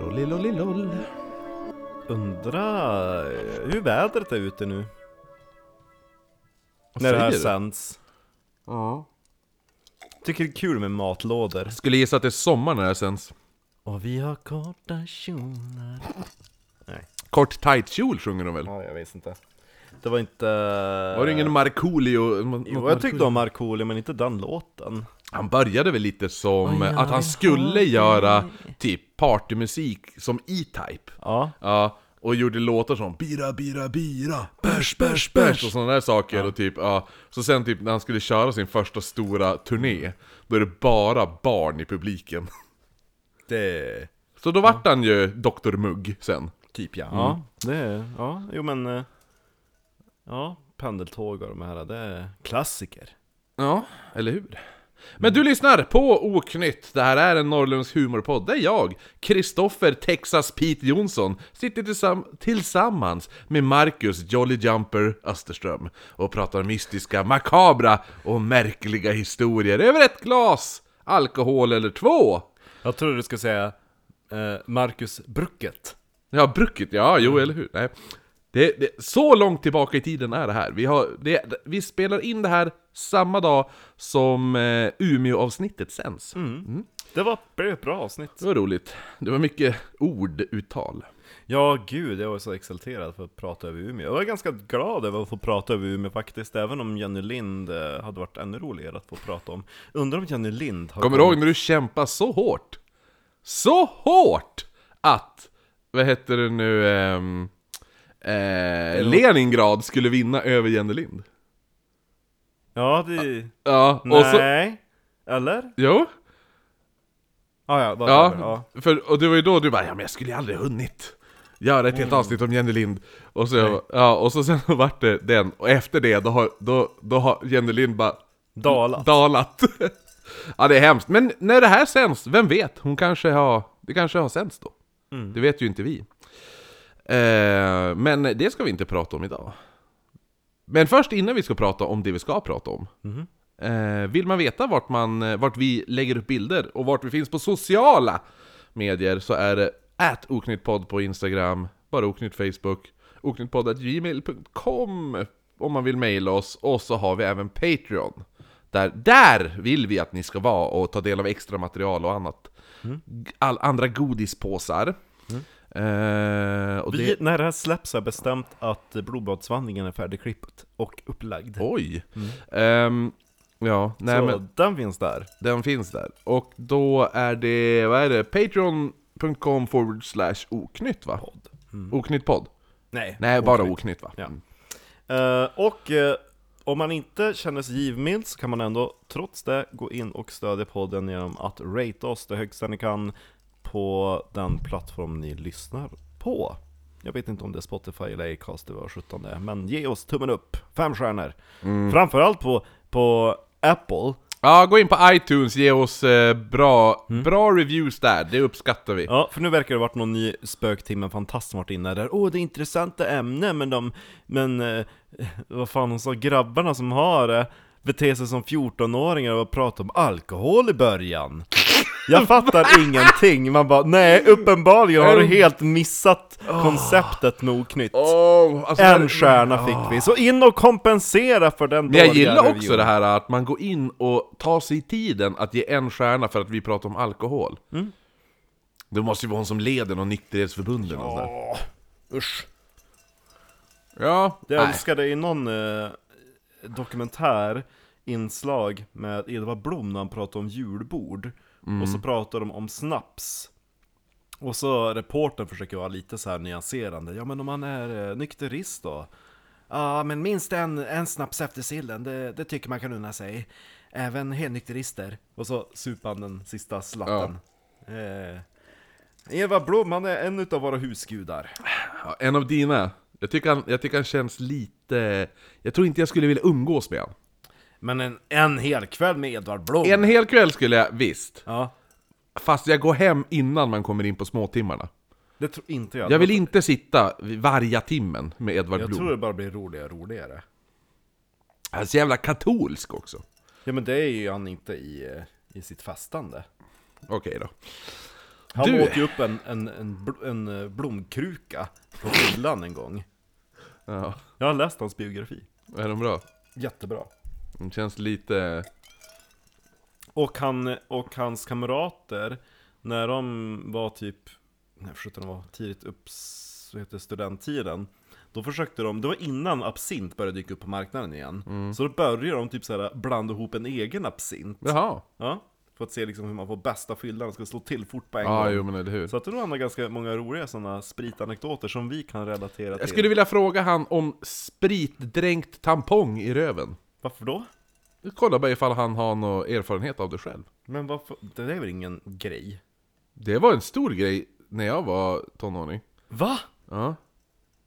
Lollilull. Undrar eh, hur vädret är ute nu Vad när det här säger du? sänds. Ja. Tycker det är kul med matlådor. Skulle gissa att det är sommar när det här sänds. Och vi har korta kjolar. Kort tight kjol sjunger de väl? Ja, jag vet inte. Det var inte... Var det ingen Markoolio? Jo, jag tyckte om Markoolio, men inte den låten. Han började väl lite som Oj, jag att han vill skulle ha göra typ partymusik som E-Type. Ja. Ja, och gjorde låtar som 'Bira, bira, bira, bärs, bärs, bärs' och sådana där saker och typ, ja. Så sen typ när han skulle köra sin första stora turné, då är det bara barn i publiken. Det... Så då vart han ju Dr Mugg sen. Typ ja. Ja, det är... Ja, jo men... eh, Ja, pendeltåg och de här, det är klassiker. Ja, eller hur? Men du lyssnar på Oknytt, det här är en norrländsk humorpodd där jag, Kristoffer Texas Pete Jonsson, sitter tillsamm- tillsammans med Marcus Jolly Jumper Österström och pratar mystiska, makabra och märkliga historier över ett glas alkohol eller två. Jag tror du ska säga eh, Marcus Brucket. Ja, brucket, ja, jo, eller hur? Nej. Det, det, så långt tillbaka i tiden är det här. Vi, har, det, vi spelar in det här samma dag som eh, Umeå-avsnittet sänds. Det var blev ett bra avsnitt. Det var roligt. Det var mycket orduttal. Ja, gud, jag var så exalterad för att prata över Umeå. Jag var ganska glad över att få prata över Umeå faktiskt, även om Jenny Lind eh, hade varit ännu roligare att få prata om. Undrar om Jenny Lind har Kommer du ihåg när du kämpade så hårt? Så hårt! Att, vad heter det nu, ehm, eh, Leningrad skulle vinna över Jennelind. Ja, det... Ja, och så... Nej. Eller? Jo? Ah, ja, vad Ja, ja. ja. För, och det var ju då du bara ja, men jag skulle ju aldrig hunnit göra ett helt avsnitt om Jenny Lind. Och så, jag, ja, och så sen vart det den, och efter det då har, då, då har Jenny Lind bara Mm. Dalat. dalat. ja, det är hemskt. Men när det här sänds, vem vet? Hon kanske har, det kanske har sänds då. Det vet ju inte vi. Eh, men det ska vi inte prata om idag. Men först innan vi ska prata om det vi ska prata om. Mhm. Eh, vill man veta vart, man, eh, vart vi lägger upp bilder och vart vi finns på sociala medier så är det at oknyttpodd på Instagram, bara oknytt Facebook, oknyttpodd.gmail.com om man vill mejla oss, och så har vi även Patreon. Där, där vill vi att ni ska vara och ta del av extra material och annat. Mm. G- All, andra godispåsar. Eh, och Vi, det, När det här släpps har jag bestämt att blodbadsvandringen är färdigklippt och upplagd. oj! Ehm, ja, nej Mm. så men... den finns där. Den finns där. Och då är det, vad är det? Patreon.com forward slash oknytt va? Oknytt podd? Nej, Nej, bara Mm. oknytt. oknytt va? Ja. Eh, och eh, om man inte känner sig givmild så kan man ändå trots det gå in och stödja podden genom att rate oss det högsta ni kan på den plattform ni lyssnar på. Jag vet inte om det är Spotify eller Acast, det var 17 det är, men ge oss tummen upp, fem stjärnor. Framförallt på, på Apple, ja, gå in på iTunes, ge oss eh, bra, bra reviews där, det uppskattar vi. Mm. Ja, för nu verkar det ha varit någon ny spöktimmen fantast som varit inne där. Åh, det är intressanta ämnen, men de... Men... Eh, vad fan hon sa, grabbarna som har det beter sig som 14-åringar och pratar om alkohol i början. Jag fattar ingenting, man bara nej, uppenbarligen har du helt missat konceptet med oknytt. Åh, alltså, En stjärna fick vi, så in och kompensera för den Men jag dåliga gillar också reviewen. det här att man går in och tar sig tiden att ge en stjärna för att vi pratar om alkohol. Mm. Det måste ju vara hon som leder någon nykterhetsförbunden och sådär. Åh, usch. Ja, Jag nej. älskade i någon eh, dokumentär inslag med Edvard Blom när han pratade om julbord Och så pratade de om snaps Och så reportern försöker vara lite så här nyanserande Ja men om man är eh, nykterist då? Ja men minst en, en snaps efter sillen, det, det tycker man kan unna sig Även helnykterister Och så supar han den sista slatten eh, Edvard Blom han är en utav våra husgudar Ja, en av dina. Jag tycker, han, jag tycker han känns lite... Jag tror inte jag skulle vilja umgås med han. Men en, en hel kväll med Edvard Blom En hel kväll skulle jag visst. Ja, Fast jag går hem innan man kommer in på småtimmarna. det tror inte jag. Jag vill inte sitta vid varje timmen med Edvard jag Blom. tror det bara blir roligare och roligare. Han är så jävla katolsk också. Ja men det är ju han inte i, eh, i sitt fastande. Okej då. Han Du- åt ju upp en, en, en, bl- en eh, blomkruka på fyllan en gång. Ja, Jag har läst hans biografi. är de bra? Jättebra. De känns lite... Och, han, och hans kamrater, när de var typ, nej försökte de var tidigt upp, så heter det, studenttiden Då försökte de, det var innan absint började dyka upp på marknaden igen Så då började de typ så här blanda ihop en egen absint Jaha! Ja, för att se liksom hur man får bästa fyllan, ska slå till fort på en Ja, ah, jo gång men eller hur. Så att det var ändå ganska många roliga sådana spritanekdoter som vi kan relatera till Jag skulle vilja fråga han om spritdränkt tampong i röven. Varför då? Kolla bara ifall han har någon erfarenhet av det själv. Men varför? Det är väl ingen grej? Det var en stor grej när jag var tonåring. Va? Ja.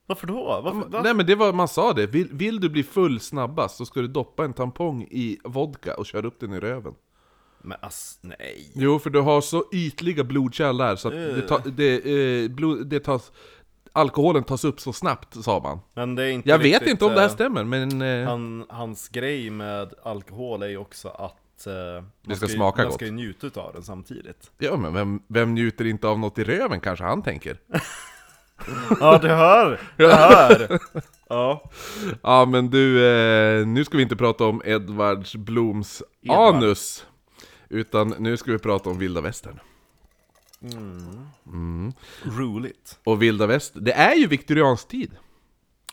Varför då? Varför? Va? Nej men det var, man sa det, vill, vill du bli full snabbast så ska du doppa en tampong i vodka och köra upp den i röven. Men ass, nej Jo, för du har så ytliga blodkärl där så att det, ta, det, eh, blod, det tas... Alkoholen tas upp så snabbt, sa man. Men det är inte Jag riktigt, vet inte om det här eh, stämmer, men... eh, han, Hans grej med alkohol är ju också att eh, man ska ju- smaka Man gott. ska ju njuta av den samtidigt Ja, men vem, vem njuter inte av något i röven kanske han tänker? Ja du hör! Du hör! Ja, Ja, men du, eh, nu ska vi inte prata om Edvards Bloms Edvard. anus. Utan nu ska vi prata om vilda västern. roligt Och vilda västern, det är ju viktoriansk tid.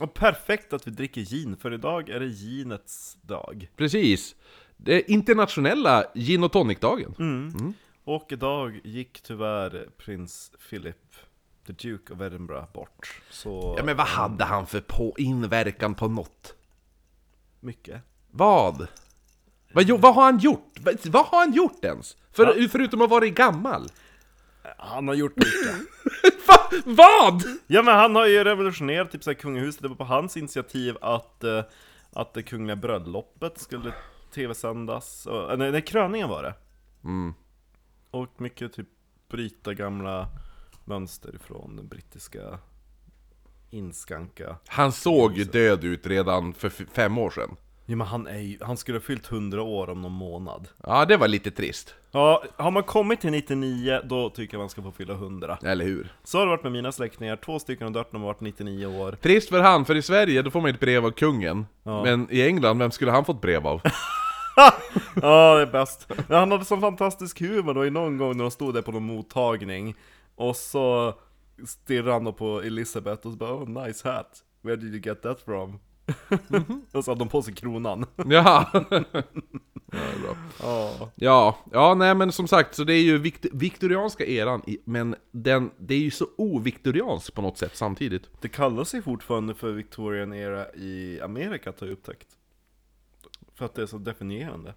Och perfekt att vi dricker gin, för idag är det ginets dag Precis. Det är internationella gin och tonic-dagen. Och idag gick tyvärr prins Philip, the Duke of Edinburgh, bort Så Ja, men vad hade han för på inverkan på något? mycket Vad? Vad, jo- vad har han gjort? Vad, vad har han gjort ens? För, Förutom att vara gammal? Han har gjort mycket Va, vad? Ja men han har ju revolutionerat typ så här kungahuset, det var på hans initiativ att, eh, att det kungliga bröllopet skulle tv-sändas, Och- eh, nej, nej kröningen var det! Mm. Och mycket typ bryta gamla mönster ifrån den brittiska inskanka Han såg ju död ut redan för f- fem år sedan. Ja men han är ju, han skulle ha fyllt 100 år om någon månad Ja, det var lite trist. Ja, har man kommit till 99 då tycker jag man ska få fylla 100 Eller hur? Så Så har det varit med mina släktingar, två stycken har dött när de har varit 99 år Trist för han, för i Sverige då får man ett brev av kungen. Men i England, vem skulle han fått brev av? Ja, det är bäst. Men han hade sån fantastisk humor då i någon gång när de stod där på någon mottagning Och så stirrade han då på Elisabeth och så bara oh, nice hat, where did you get that from? och så hade de på sig kronan Jaha! ja, det är bra. Ja, Ja, ja, nej men som sagt, så det är ju vikt viktorianska eran, i- men den, det är ju så oviktoriansk på något sätt samtidigt. Det kallas ju fortfarande för Victorian era i Amerika har jag upptäckt För att det är så definierande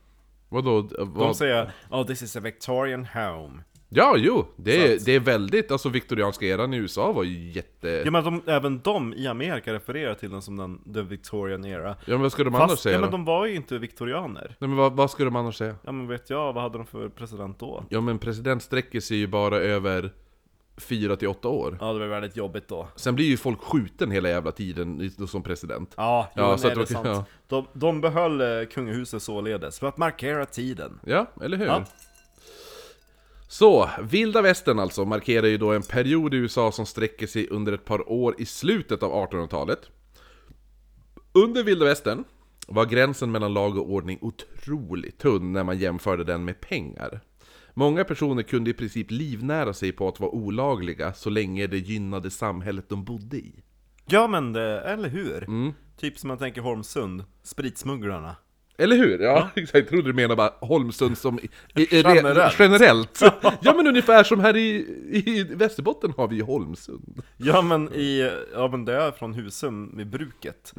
Vadå? De Vad? säger oh this is a Victorian home Ja, jo! Det Så är, det är väldigt, alltså viktorianska eran i USA var ju jätte... Ja men de, även de i Amerika refererar till den som den, the Victorian era Ja men vad ska de annars Fast, säga ja, men då? de var ju inte viktorianer Nej men vad, vad ska de annars säga? Ja men vet jag, vad hade de för president då? Ja men president sträcker sig ju bara över 4 till 8 år. Ja det var väldigt jobbigt då Sen blir ju folk skjuten hela jävla tiden i- som president. Ja, Ja, jo, så nej, att det är de- sant ja. de, de behöll eh, kungahuset således för att markera tiden Ja, eller hur? Ja. Så, vilda västern alltså markerar ju då en period i USA som sträcker sig under ett par år i slutet av 1800-talet. Under vilda västern var gränsen mellan lag och ordning otroligt tunn när man jämförde den med pengar. Många personer kunde i princip livnära sig på att vara olagliga så länge det gynnade samhället de bodde i. Ja men det, eller hur? Mm. Typ som man tänker Holmsund, spritsmugglarna Eller hur? Ja, exakt. Jag trodde du menade bara Holmsund som i, i, Generellt. generellt. generellt. Ja men ungefär som här i, i Västerbotten har vi ju Holmsund. Ja men i, ja men det är från Husum, vid bruket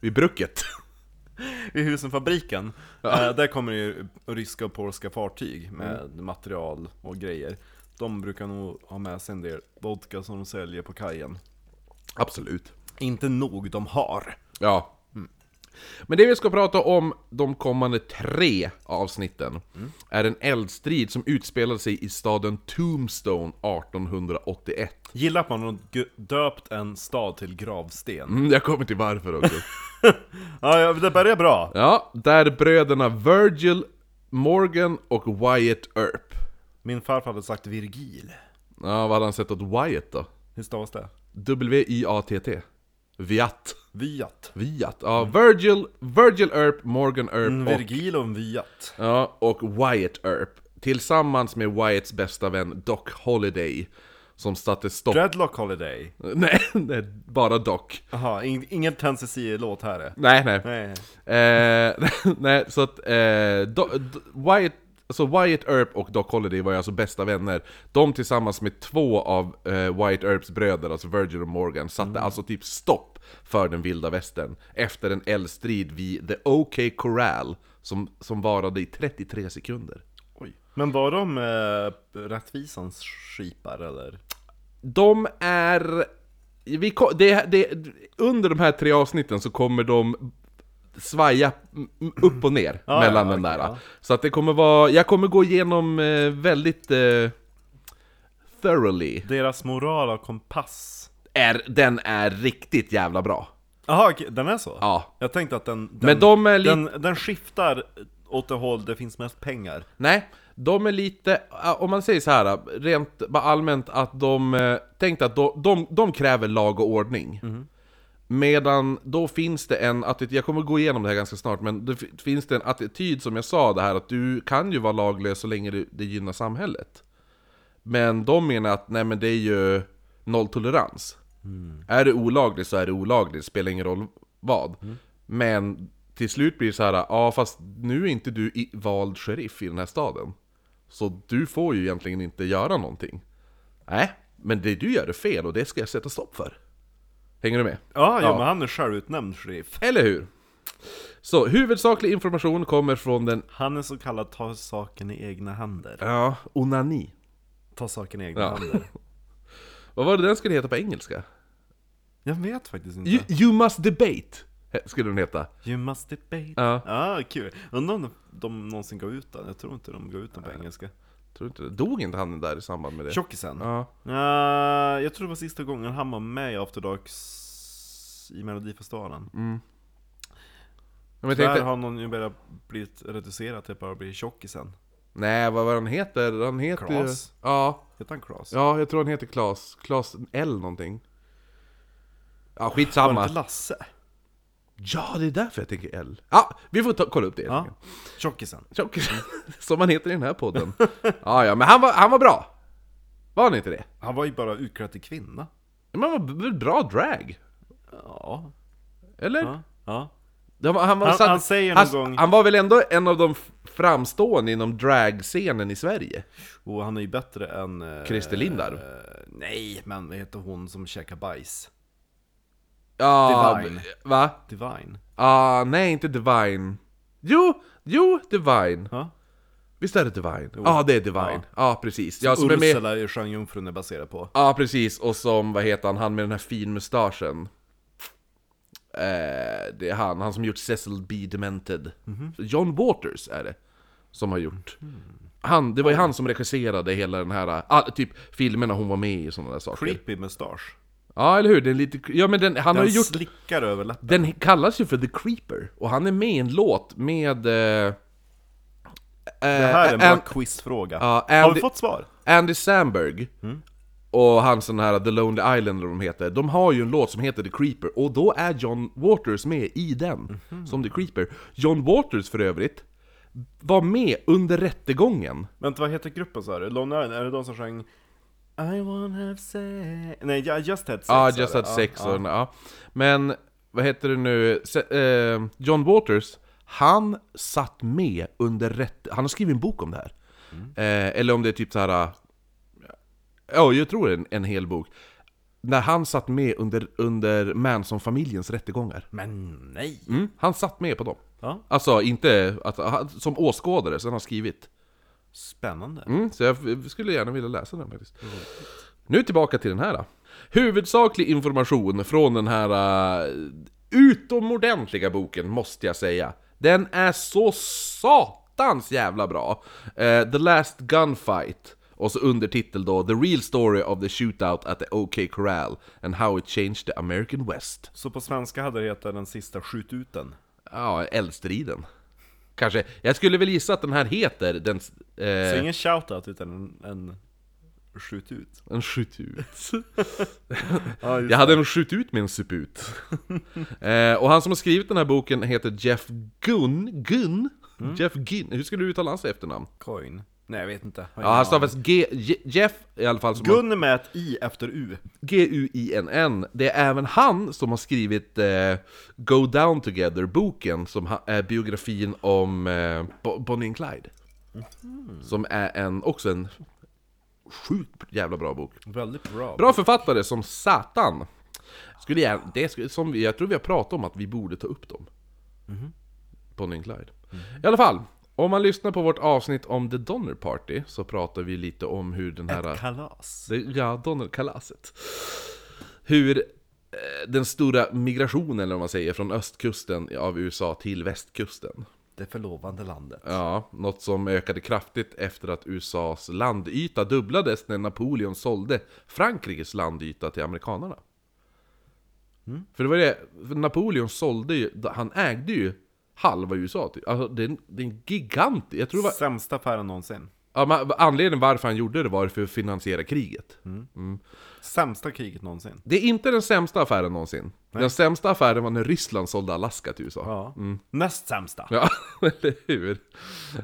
Vid bruket. Vid Husumfabriken, eh, där kommer ju ryska och polska fartyg med Mm. material och grejer De brukar nog ha med sig en del vodka som de säljer på kajen Absolut. Inte nog de har Ja. Mm. Men det vi ska prata om de kommande tre avsnitten är en eldstrid som utspelade sig i staden Tombstone 1881. Gillar att man har gu- döpt en stad till gravsten. Mm, jag kommer till varför också. Ja, ja, det börjar bra. ja, där bröderna Virgil Morgan och Wyatt Earp Min farfar hade sagt Virgil. Ja, vad hade han sett åt Wyatt då? Hur stavas det? W-I-A-T-T Viat Viat. Viat, ja Mm, Virgil, Virgil Earp, Morgan Earp En och, Virgil och en Viat. ja, och Wyatt Earp Tillsammans med Wyatts bästa vän Doc Holiday Som satte stopp... Dreadlock Holiday. nej, nej, bara Doc Jaha, ing- ingen Tennessee-låt här är. Nej, nej Nej. Eh, nej, så att eh, Do, Do, Wyatt, alltså Wyatt Earp och Doc Holliday var ju alltså bästa vänner. De tillsammans med två av eh, Wyatt Earps bröder, alltså Virgil och Morgan, satte alltså typ stopp för den vilda västern efter en eldstrid vid The OK Corral som, som varade i 33 sekunder. Men var de eh, rättvisans skipar eller? De är... Vi, ko- det, det, under de här tre avsnitten så kommer de svaja m- m- upp och ner Ja, mellan ja, den okej, där. ja. Så att det kommer vara... Jag kommer gå igenom eh, väldigt... Eh, thoroughly. Deras moral och kompass. Är, den är riktigt jävla bra. Jaha, okej, den är så? Ja. Jag tänkte att den, den, Men de är lite... den, den skiftar åt det håll det finns mest pengar. Nej, de är lite, eh, om man säger så här, rent bara allmänt att de eh, tänkte att de, de, de kräver lag och ordning. Medan då finns det en attityd, jag kommer gå igenom det här ganska snart, men det fi- finns det en attityd som jag sa, det här att du kan ju vara laglös så länge det, det gynnar samhället. Men de menar att nej men det är ju nolltolerans. Är det olagligt så är det olagligt, spelar ingen roll vad. Men till slut blir det så här, ja fast nu är inte du i, vald sheriff i den här staden. Så du får ju egentligen inte göra någonting. Nej, men det du gör är fel och det ska jag sätta stopp för. Hänger du med? Ja, ja, Ja. men han är självutnämnd sheriff. Eller hur? Så huvudsaklig information kommer från den, Han är så kallad ta saken i egna händer. ja, onani. Ta saken i egna Ja. händer. Vad var det den skulle heta på engelska? Jag vet faktiskt inte. You, you must debate, he- skulle den heta. You must debate. Ja. ah, kul. Undrar om de, de någonsin gav ut den. Jag tror inte de gav ut den på engelska. Tror inte det. Dog inte han där i samband med det? Tjockisen. Ja. Ah, jag tror det var sista gången han var med i After Darks i Melodifestivalen. Men jag Där tänkte, har någon ju börjat blivit reducerad till att bara bli tjockisen. nej vad var han heter? Han heter ju- Klas? Ja, Heter han Klas? ja, jag tror han heter Klas. Klas L någonting. Ja, Var det skitsamma. inte Lasse? Ja, det är därför jag tänker L. Ja, vi får ta, kolla upp det. helt Ja. enkelt. Tjockisen. Tjock, som han heter i den här podden. Ja, ja, men han var, han var bra. Var han inte det? Han var ju bara utklädd till kvinna. Men han var väl bra drag? Ja. Eller? Ja. ja. Han, var- han, var, Han- satt- han säger någon han, gång- han var väl ändå en av de f- framstående inom dragscenen i Sverige? Och han är ju bättre än... eh, Christer Lindarw? eh, nej, men vad heter hon som käkar bajs? Ja, Divine. va? Divine. Ah, nej inte Divine. Jo, jo, Divine. Ja. Visst är det Divine? Ja, ah, det är Divine. Ja, ah, precis. Ja, som är med... Ursula är Sjöjungfrun är baserad på. Ja, ah, precis. Och som, vad heter han, han med den här finmustaschen. Eh, det är han, han som gjort Cecil B. Demented. John Waters är det. Som har gjort. Han, det var ju han som regisserade hela den här, all, typ filmerna hon var med i och sådana där saker. Ja, Creepy mustasch. ah, eller hur? Den är lite, ja men den, han har Han ju gjort slickar över läppen. Den kallas ju för The Creeper och han är med i en låt med... Eh, Det här är en eh, bra An- quizfråga. Ja, Har Andy- vi fått svar? Andy Samberg Mm. och han sån här The Lonely Island eller vad de heter, de har ju en låt som heter The Creeper och då är John Waters med i den Mhm. som The Creeper. John Waters för övrigt var med under rättegången. Vänta, vad heter gruppen sa du? Lonely Island, är det de som sjöng I wanna have sex? Nej, ja, Just had sex Ja, sa Just du. Had Sex ja. och ja. Men, vad heter det nu, Se, eh, John Waters, han satt med under rätt... Han har skrivit en bok om det här. Eh, eller om det är typ så här... Ja, jag tror en, en hel bok. När han satt med under, under Manson-familjens rättegångar. Men nej! Mm, han satt med på dem. Ja, Alltså inte att, han- som åskådare, sen har han skrivit. spännande. Mm, så jag f- skulle gärna vilja läsa den faktiskt. Nu tillbaka till den här. då. Huvudsaklig information från den här eh, utomordentliga boken, måste jag säga. Den är så satans jävla bra! Eh, the Last Gunfight, och så undertitel då The Real Story of the Shootout at the OK Corral and How It Changed the American West. Så på svenska hade det hetat Den sista skjututen. Ja, eldstriden. Kanske. Jag skulle väl gissa att den här heter den... s- eh, Så ingen shoutout utan en, en skjut ut. En skjutut. Ja, just Jag hade en skjutut med en suput. eh, och han som har skrivit den här boken heter Jeff Gunn. Gunn? Mm. Jeff Gunn. Hur skulle du uttala hans efternamn? Coin. Nej jag vet inte. Ja, han stavas G... Je- Jeff i alla fall. Som har- Gun med ett i efter u. G-U-I-N-N. Det är även han som har skrivit eh, Go Down Together-boken, som ha- är biografin om eh, Bo- Bonnie and Clyde. Mm. Som är en, också en sjukt jävla bra bok. Väldigt bra. Bra författare som satan! Skulle jag, det skulle, som vi, jag tror vi har pratat om att vi borde ta upp dem. Bonnie and Clyde. I alla fall, om man lyssnar på vårt avsnitt om The Donner Party så pratar vi lite om hur den här... Kalas. Det, ja, Donnerkalaset. Hur eh, den stora migrationen, eller vad man säger, från östkusten av USA till västkusten. Det förlovande landet. Ja, något som ökade kraftigt efter att USAs landyta dubblades när Napoleon sålde Frankrikes landyta till amerikanerna. För det var det, för Napoleon sålde ju, han ägde ju halva USA. Typ. Alltså det är en, det är en gigant, jag tror det var Sämsta affären någonsin. ja, men anledningen varför han gjorde det var för att finansiera kriget. Sämsta kriget någonsin. Det är inte den sämsta affären någonsin. Den sämsta affären var när Ryssland sålde Alaska till USA. Ja. Näst sämsta. Mm. Ja, eller hur? Eh,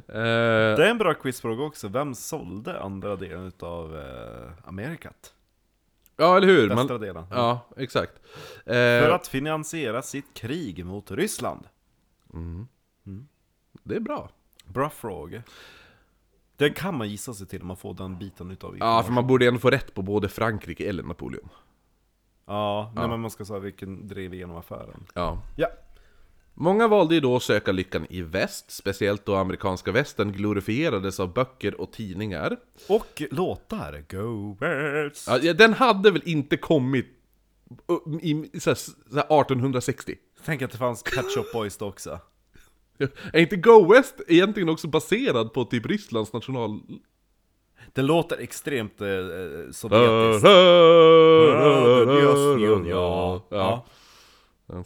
Det är en bra quizfråga också. Vem sålde andra delen utav eh, Amerikat? ja, eller hur? Västra Man, delen. ja, exakt. Eh, För att finansiera sitt krig mot Ryssland. Det är bra. Bra fråga. Det kan man gissa sig till om man får den biten utav Ja, för man borde ändå få rätt på både Frankrike eller Napoleon. ja, nej, men man ska säga vilken drev igenom affären. Ja. Ja. Många valde ju då att söka lyckan i väst, speciellt då amerikanska västern glorifierades av böcker och tidningar. Och låtar. Go birds. Ja, ja, den hade väl inte kommit uh, i, i så här, så här 1860? Tänk att det fanns Pet Shop Boys då också. Är inte Go West egentligen också baserad på typ Rysslands national... Det låter extremt eh, eh, Ja, sovjetiskt. Ja. ja. Ja. Ja.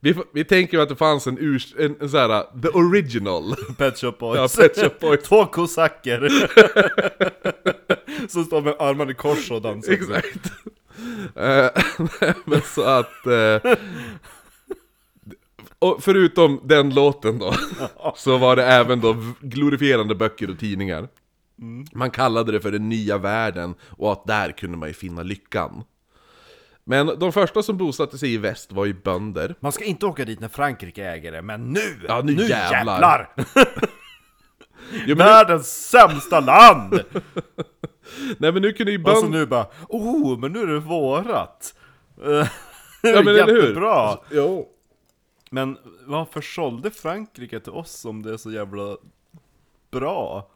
Vi, får- vi tänker ju att det fanns en, urs, en, en så här, uh, the original Pet Shop ja, Boys. Pet Shop Boys. Två kosacker Som står med armarna i kors och dansar Exakt. Eh, Men så att... eh, Och förutom den låten då, så var det även då glorifierande böcker och tidningar. Man kallade det för den nya världen och att där kunde man ju finna lyckan. Men de första som bosatte sig i väst var ju bönder. Man ska inte åka dit när Frankrike äger det, men nu! Ja, nu jävlar. Jo, men nu, Världens sämsta land! nej men nu kunde ju Och så bönder... nu bara, oh, men nu är det vårat! Eh, Ja, men eller hur? Jättebra! Jo. Men varför sålde Frankrike till oss om det är så jävla bra?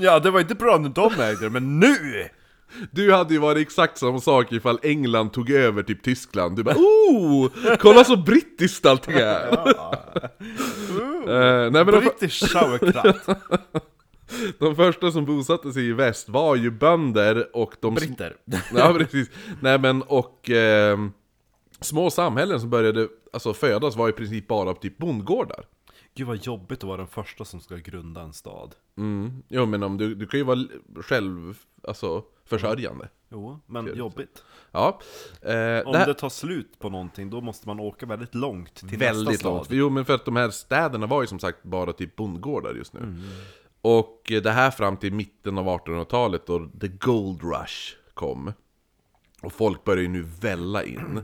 Ja, det var inte bra när de ägde det, men nu! Du hade ju varit exakt samma sak ifall England tog över typ Tyskland. Du bara oh, kolla så brittiskt allting är! Eh, nej, men de, British sauerkraut, de första som bosatte sig i väst var ju bönder och de... sm- britter. ja, precis. Nej men och... ehm, små samhällen som började alltså, födas var i princip bara typ bondgårdar. Gud vad jobbigt att vara den första som ska grunda en stad. Jo men om du, du kan ju vara l- själv, alltså försörjande. Jo, men jobbigt. Ja. Eh, Om det här- det tar slut på någonting, då måste man åka väldigt långt till nästa Väldigt stad. långt. Jo, men för att de här städerna var ju som sagt bara typ bondgårdar just nu. Och eh, det här fram till mitten av 1800-talet då the gold rush kom. Och folk började ju nu välla in.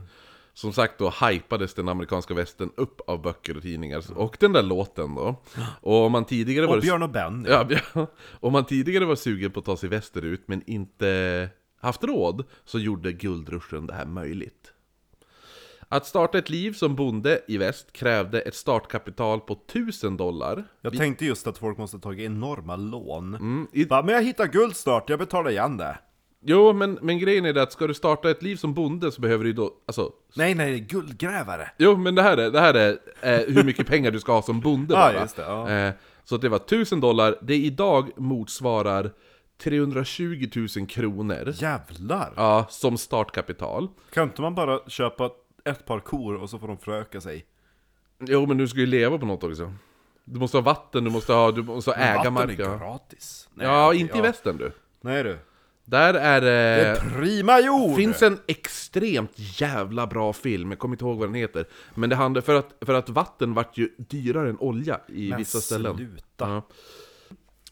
Som sagt då hypades den amerikanska västern upp av böcker och tidningar. Och den där låten då. Och om man tidigare var... Och Björn och Benny. Ja, ja. Om man tidigare var sugen på att ta sig västerut men inte haft råd så gjorde guldruschen det här möjligt. Att starta ett liv som bonde i väst krävde ett startkapital på 1000 dollar. Jag tänkte just att folk måste ha tagit enorma lån. Mm, i- Bara, men jag hittar guld snart, jag betalar igen det. Jo, men, men grejen är det att ska du starta ett liv som bonde så behöver du då... Alltså, Nej, nej, guldgrävare. jo, men det här är, det här är eh, hur mycket pengar du ska ha som bonde. Ja, bara. just det, ja. Eh, så att det var 1000 dollar. Det idag motsvarar 320 000 kronor. Jävlar! Ja, som startkapital. Kan inte man bara köpa ett par kor och så får de föröka sig? Jo men du ska ju leva på något också. Du måste ha vatten, du måste ha, du måste ha äga Vatten är marken. gratis. Nej, Ja, okej, inte i västern du. Nej du. Där är Det det... är prima jord! finns en extremt jävla bra film, jag kommer inte ihåg vad den heter. Men det handlar för att, för att vatten vart ju dyrare än olja i Men vissa ställen. sluta. Ja.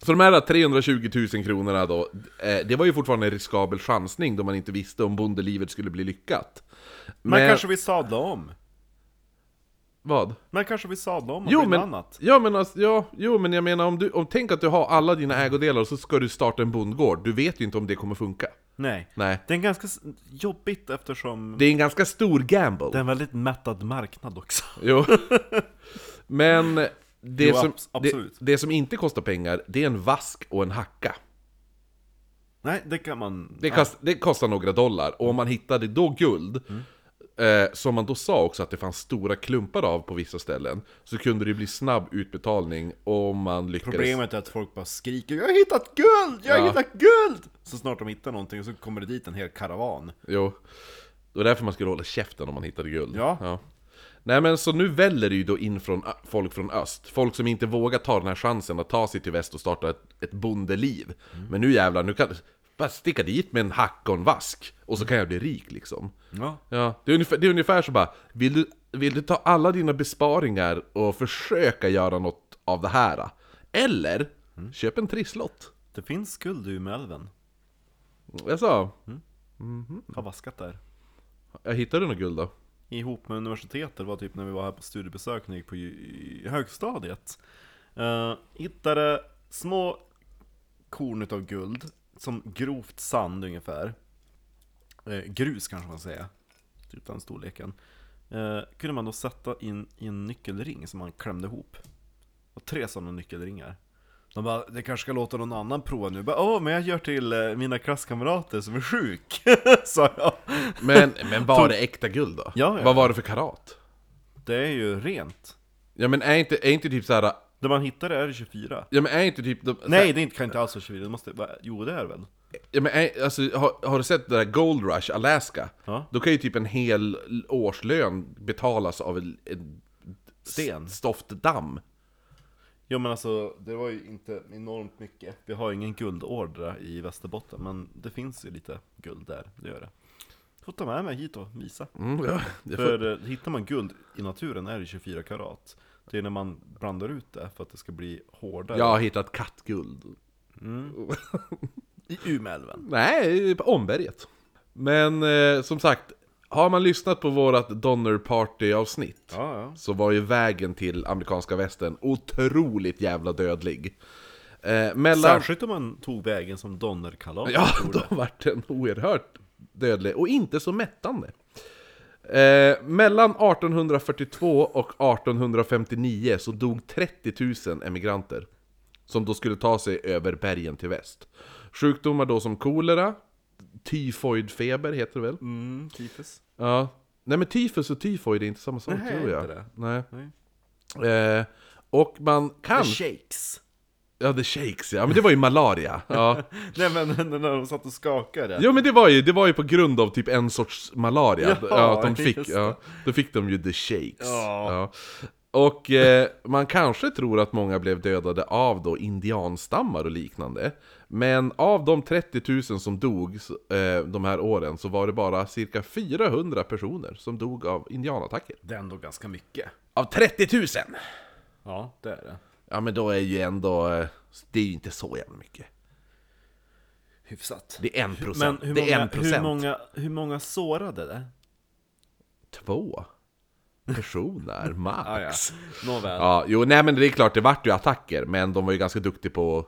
Så de här 320 000 kronorna då, eh, det var ju fortfarande en riskabel chansning då man inte visste om bondelivet skulle bli lyckat. Man Men- kanske vill sadla om. Vad? Man kanske vill sadla om och Jo bli men, något annat. ja, men alltså, ja, jo men jag menar om du, om, tänk att du har alla dina ägodelar och så ska du starta en bondgård, du vet ju inte om det kommer funka. Nej. Nej. Det är en ganska s- jobbigt eftersom Det är en ganska stor gamble. det är en väldigt mättad marknad också. Jo. Men det, Jo, som, abs- det, absolut. det som inte kostar pengar, det är en vask och en hacka. Nej, det kan man... Det, kost, det kostar några dollar, och om man hittade då guld, Mm. eh, som man då sa också att det fanns stora klumpar av på vissa ställen, så kunde det bli snabb utbetalning om man lyckades... Problemet är att folk bara skriker 'Jag har hittat guld! Jag har Ja. hittat guld!' Så snart de hittar någonting så kommer det dit en hel karavan. Jo. Det var därför man skulle hålla käften om man hittade guld. Ja. Nej men så nu väller det ju då in från ö- folk från öst. Folk som inte vågar ta den här chansen att ta sig till väst och starta ett, ett bondeliv. Men nu jävlar, nu kan bara sticka dit med en hack och en vask. Och så kan jag bli rik liksom. Ja. Ja, det är ungefär, det är ungefär så bara, vill du, vill du ta alla dina besparingar och försöka göra något av det här? Eller, köp en trisslott. Det finns guld i Umeälven. Jag sa, Har vaskat där. jag hittade något guld då. ihop med universitetet var typ när vi var här på studiebesök när jag gick på ju- i högstadiet. Eh, hittade små korn av guld, som grovt sand ungefär. Eh, grus kanske man säger, typ den storleken. Eh, kunde man då sätta in i en nyckelring som man klämde ihop. Och tre sådana nyckelringar. De bara, det kanske ska låta någon annan prova nu. Bara, Åh, men jag gör till eh, mina klasskamrater som är sjuk, sa jag. Men, men var det äkta guld då? Ja, ja. Vad var det för karat? Det är ju rent. Ja men är inte, är inte typ såhär, Där man hittar det är det 24. ja men är inte typ de, Nej, det är inte- kan inte alls vara 24, det måste vara, jo det är det väl? ja, men är, alltså, har, har du sett det där Gold Rush, Alaska? Ja. Då kan ju typ en hel årslön betalas av en, en Sten. stoftdamm Jo men alltså, det var ju inte enormt mycket. Vi har ingen guldorder i Västerbotten, men det finns ju lite guld där, det gör det. Får ta med mig hit och visa. mm, ja, det får, För eh, hittar man guld i naturen är det 24 karat. Det är när man blandar ut det för att det ska bli hårdare. Jag har hittat kattguld I Umeälven. Nej, på Omberget Men eh, som sagt, har man lyssnat på vårat Donner Party avsnitt Ja, ja. så var ju vägen till amerikanska västern otroligt jävla dödlig eh, mellan, Särskilt om man tog vägen som Donnerkalas Ja, gjorde. då vart den oerhört dödlig och inte så mättande. Eh, mellan 1842 och 1859 så dog 30 000 emigranter som då skulle ta sig över bergen till väst. Sjukdomar då som kolera, tyfoidfeber heter det väl? Mm, typiskt. Ja. Nej men tyfus och tyfoid är inte samma sak Nej, tror jag. inte det. Nej. Eh, och man kan... Shakes. Ja, the shakes ja. Men det var ju malaria. Ja. Nej men när de satt och skakade. Jo men det var ju, det var ju på grund av typ en sorts malaria, Ja, ja, att de fick, just ja, då fick de ju the shakes. Ja. Och eh, man kanske tror att många blev dödade av då indianstammar och liknande. Men av de 30 000 som dog så, eh, de här åren så var det bara cirka 400 personer som dog av indianattacker. Det är ändå ganska mycket. Av 30 000! Ja, det är det. Ja men då är ju ändå, eh, det är ju inte så jävla mycket. Hyfsat. Det är en Men procent. hur det är många, en procent. hur, många, hur många sårade det? Två personer max. Ah, Nåväl. Ja, jo, nej men det är klart, det vart ju attacker, men de var ju ganska duktiga på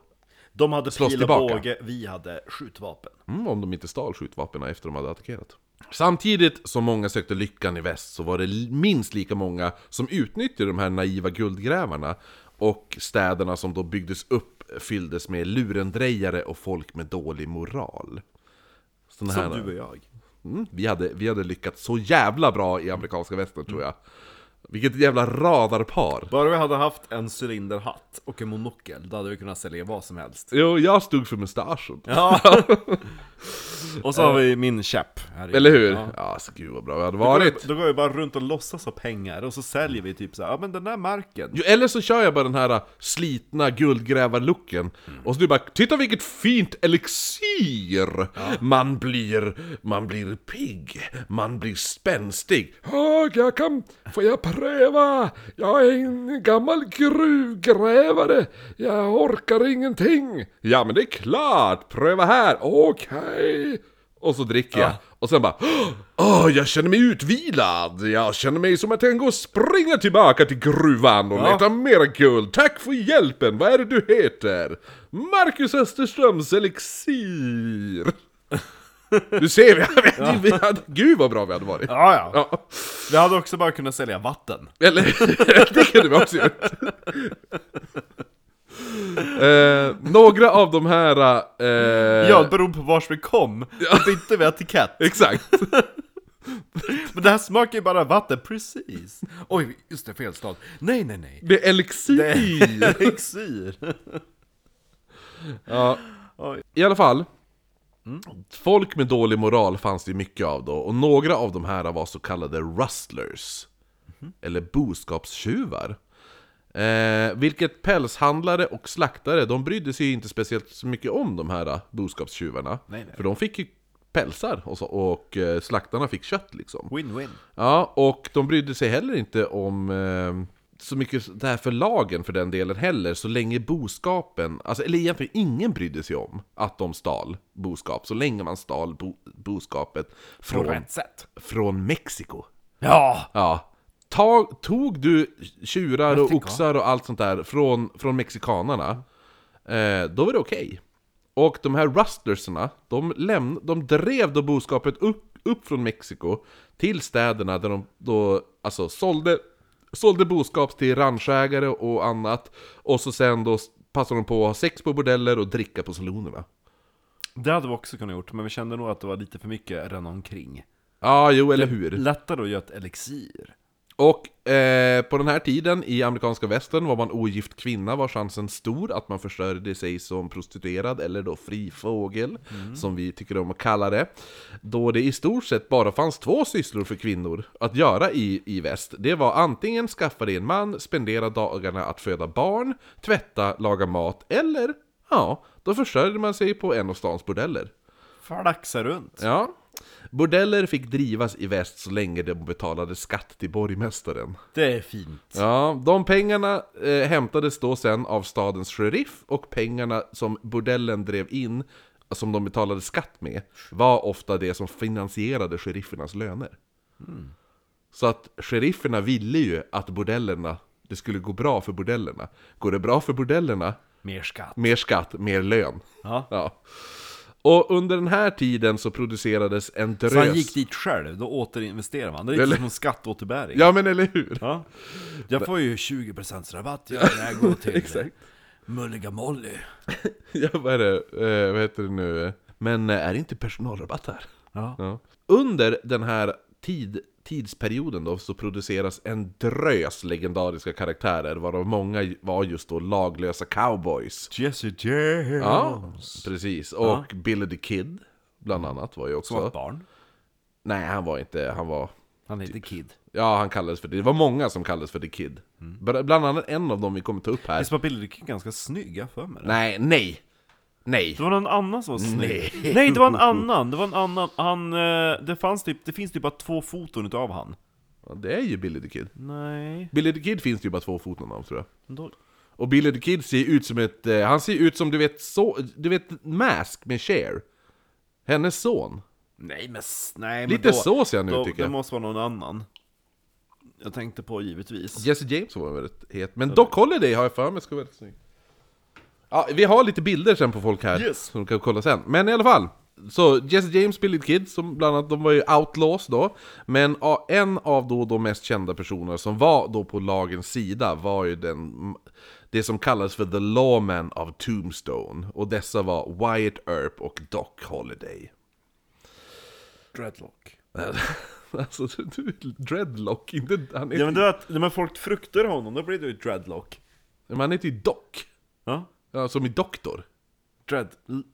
De hade Slås pil och tillbaka. båge, vi hade skjutvapen. mm, om de inte stal skjutvapnen efter de hade attackerat. Samtidigt som många sökte lyckan i väst så var det li- minst lika många som utnyttjade de här naiva guldgrävarna och städerna som då byggdes upp fylldes med lurendrejare och folk med dålig moral. Såna Som här- du och jag. Mm, vi, hade, vi hade lyckats så jävla bra i amerikanska västern tror jag. Vilket jävla radarpar! Bara vi hade haft en cylinderhatt och en monokel, då hade vi kunnat sälja vad som helst. Jo, jag stod för mustaschen. Ja. och så har vi min käpp. Här inne. Eller hur? Ja. Ja, så gud vad bra vi hade Då går, vi, varit! då går vi bara runt och låtsas ha pengar och så säljer vi typ så här, ja men den där marken. Jo, eller så kör jag bara den här äh, slitna guldgrävarlooken Och så du bara 'Titta vilket fint elixir! Man blir... Man blir pigg! Man blir spänstig! Åh, jag kan... Får jag pröva? Jag är en gammal gruvgrävare! Jag orkar ingenting! Ja men det är klart! Pröva här! Okej! Och så dricker jag. Och sen bara Åh, jag känner mig utvilad! Jag känner mig som att jag kan gå och springa tillbaka till gruvan och leta mera guld. Tack för hjälpen! Vad är det du heter? Marcus Österströms Elixir! Du ser, vi hade, vi hade, gud vad bra vi hade varit! Ja, ja. Ja, Vi hade också bara kunnat sälja vatten. eller det kunde vi också gjort. Eh, några av de här... Eh, Ja, det beror på vars vi kom. Och bytte vi etikett. Exakt. Men det här smakar ju bara vatten, precis. Oj, just det, fel stad. Nej, nej, nej. Det är elixir! Det är elixir. Ja. Oj. I alla fall. Mm. Folk med dålig moral fanns det ju mycket av då, och några av de här var så kallade rustlers. Mhm. Eller boskapstjuvar. Eh, vilket pälshandlare och slaktare, de brydde sig ju inte speciellt så mycket om de här eh, boskapstjuvarna. Nej, nej. För de fick ju pälsar och, så, och eh, slaktarna fick kött liksom. Win-win. Ja, och de brydde sig heller inte om eh, så mycket det här för lagen för den delen heller, så länge boskapen, alltså, eller egentligen ingen brydde sig om att de stal boskap, så länge man stal bo, boskapet På från, rätt sätt. från Mexiko. Ja! Ja. Tag, tog du tjurar och Mexiko. oxar och allt sånt där från, från mexikanerna, eh, då var det okej. Och de här rustlerserna, de, lämn, de drev då boskapet upp, upp från Mexiko till städerna där de då alltså sålde, sålde boskap till ranchägare och annat. Och så sen då passade de på att ha sex på bordeller och dricka på salonerna. Det hade vi också kunnat gjort, men vi kände nog att det var lite för mycket redan omkring. Ja, jo, eller hur? Lättare att göra ett elixir. Och eh, på den här tiden i amerikanska västern var man ogift kvinna var chansen stor att man försörjde sig som prostituerad eller då fri fågel, som vi tycker om att kalla det. Då det i stort sett bara fanns två sysslor för kvinnor att göra i, i väst. Det var antingen skaffa dig en man, spendera dagarna att föda barn, tvätta, laga mat eller, ja, då försörjde man sig på en av stans bordeller. Flaxa runt. Ja. Bordeller fick drivas i väst så länge de betalade skatt till borgmästaren. Det är fint. Ja, de pengarna eh, hämtades då sen av stadens sheriff och pengarna som bordellen drev in, som de betalade skatt med, var ofta det som finansierade sheriffernas löner. Mm. Så att sherifferna ville ju att bordellerna, det skulle gå bra för bordellerna. Går det bra för bordellerna, Mer skatt. mer skatt, mer lön. Ja. Ja. Och under den här tiden så producerades en drös... Så han gick dit själv, då återinvesterar man. Det är Eller- lite som en skatteåterbäring. Ja men eller hur? Ja. Jag får ju 20% rabatt jag, när jag går till Exakt. Mulliga Molly. Ja, vad är det? Eh, vad heter det nu? Men eh, är det inte personalrabatt här? Ja. Ja. Under den här tid, tidsperioden då så produceras en drös legendariska karaktärer varav många ju- var just då laglösa cowboys. Jesse James. Ja, precis. Och Billy the Kid, bland annat, var ju också... Som var ett barn. Nej, han var inte... Han var... Han heter Kid. Ja, han kallades för... Det var många som kallades för The Kid. Bra- Bland annat en av dem vi kommer ta upp här. Visst var Billy the Kid ganska snygg? Jag har för mig det. Nej, nej! Nej! Det var någon annan som var snygg. Nej. det var en annan. Det var en annan. Han, eh, det, fanns typ, det finns typ bara två foton utav han. Ja, Det är ju Billy the Kid. Nej. Billy the Kid finns det ju bara två foton av, tror jag. Då, Och Billy the Kid ser ut som ett... Eh, han ser ut som du vet, så, du vet Mask med Cher. Hennes son. nej men, s- nej, men Lite då, så ser han ut då, tycker Det jag. måste vara någon annan. Jag tänkte på givetvis. Jesse James var väldigt het. Men Doc Holliday har jag för mig ska vara väldigt snygg. Ja, vi har lite bilder sen på folk här. Yes. Som du kan kolla sen. Men i alla fall. Så Jesse James, Billy the Kid, som bland annat, de var ju outlaws då. Men ja, en av då de mest kända personerna som var då på lagens sida var ju den, det som kallades för The Lawman of Tombstone. Och dessa var Wyatt Earp och Doc Holliday. Dreadlock. Alltså, du, du, dreadlock, inte... Han heter, Ja men det är att, när folk fruktar honom, då blir det ju dreadlock. men han heter ju Dock. Ja, Ja, som i doktor. dread... l-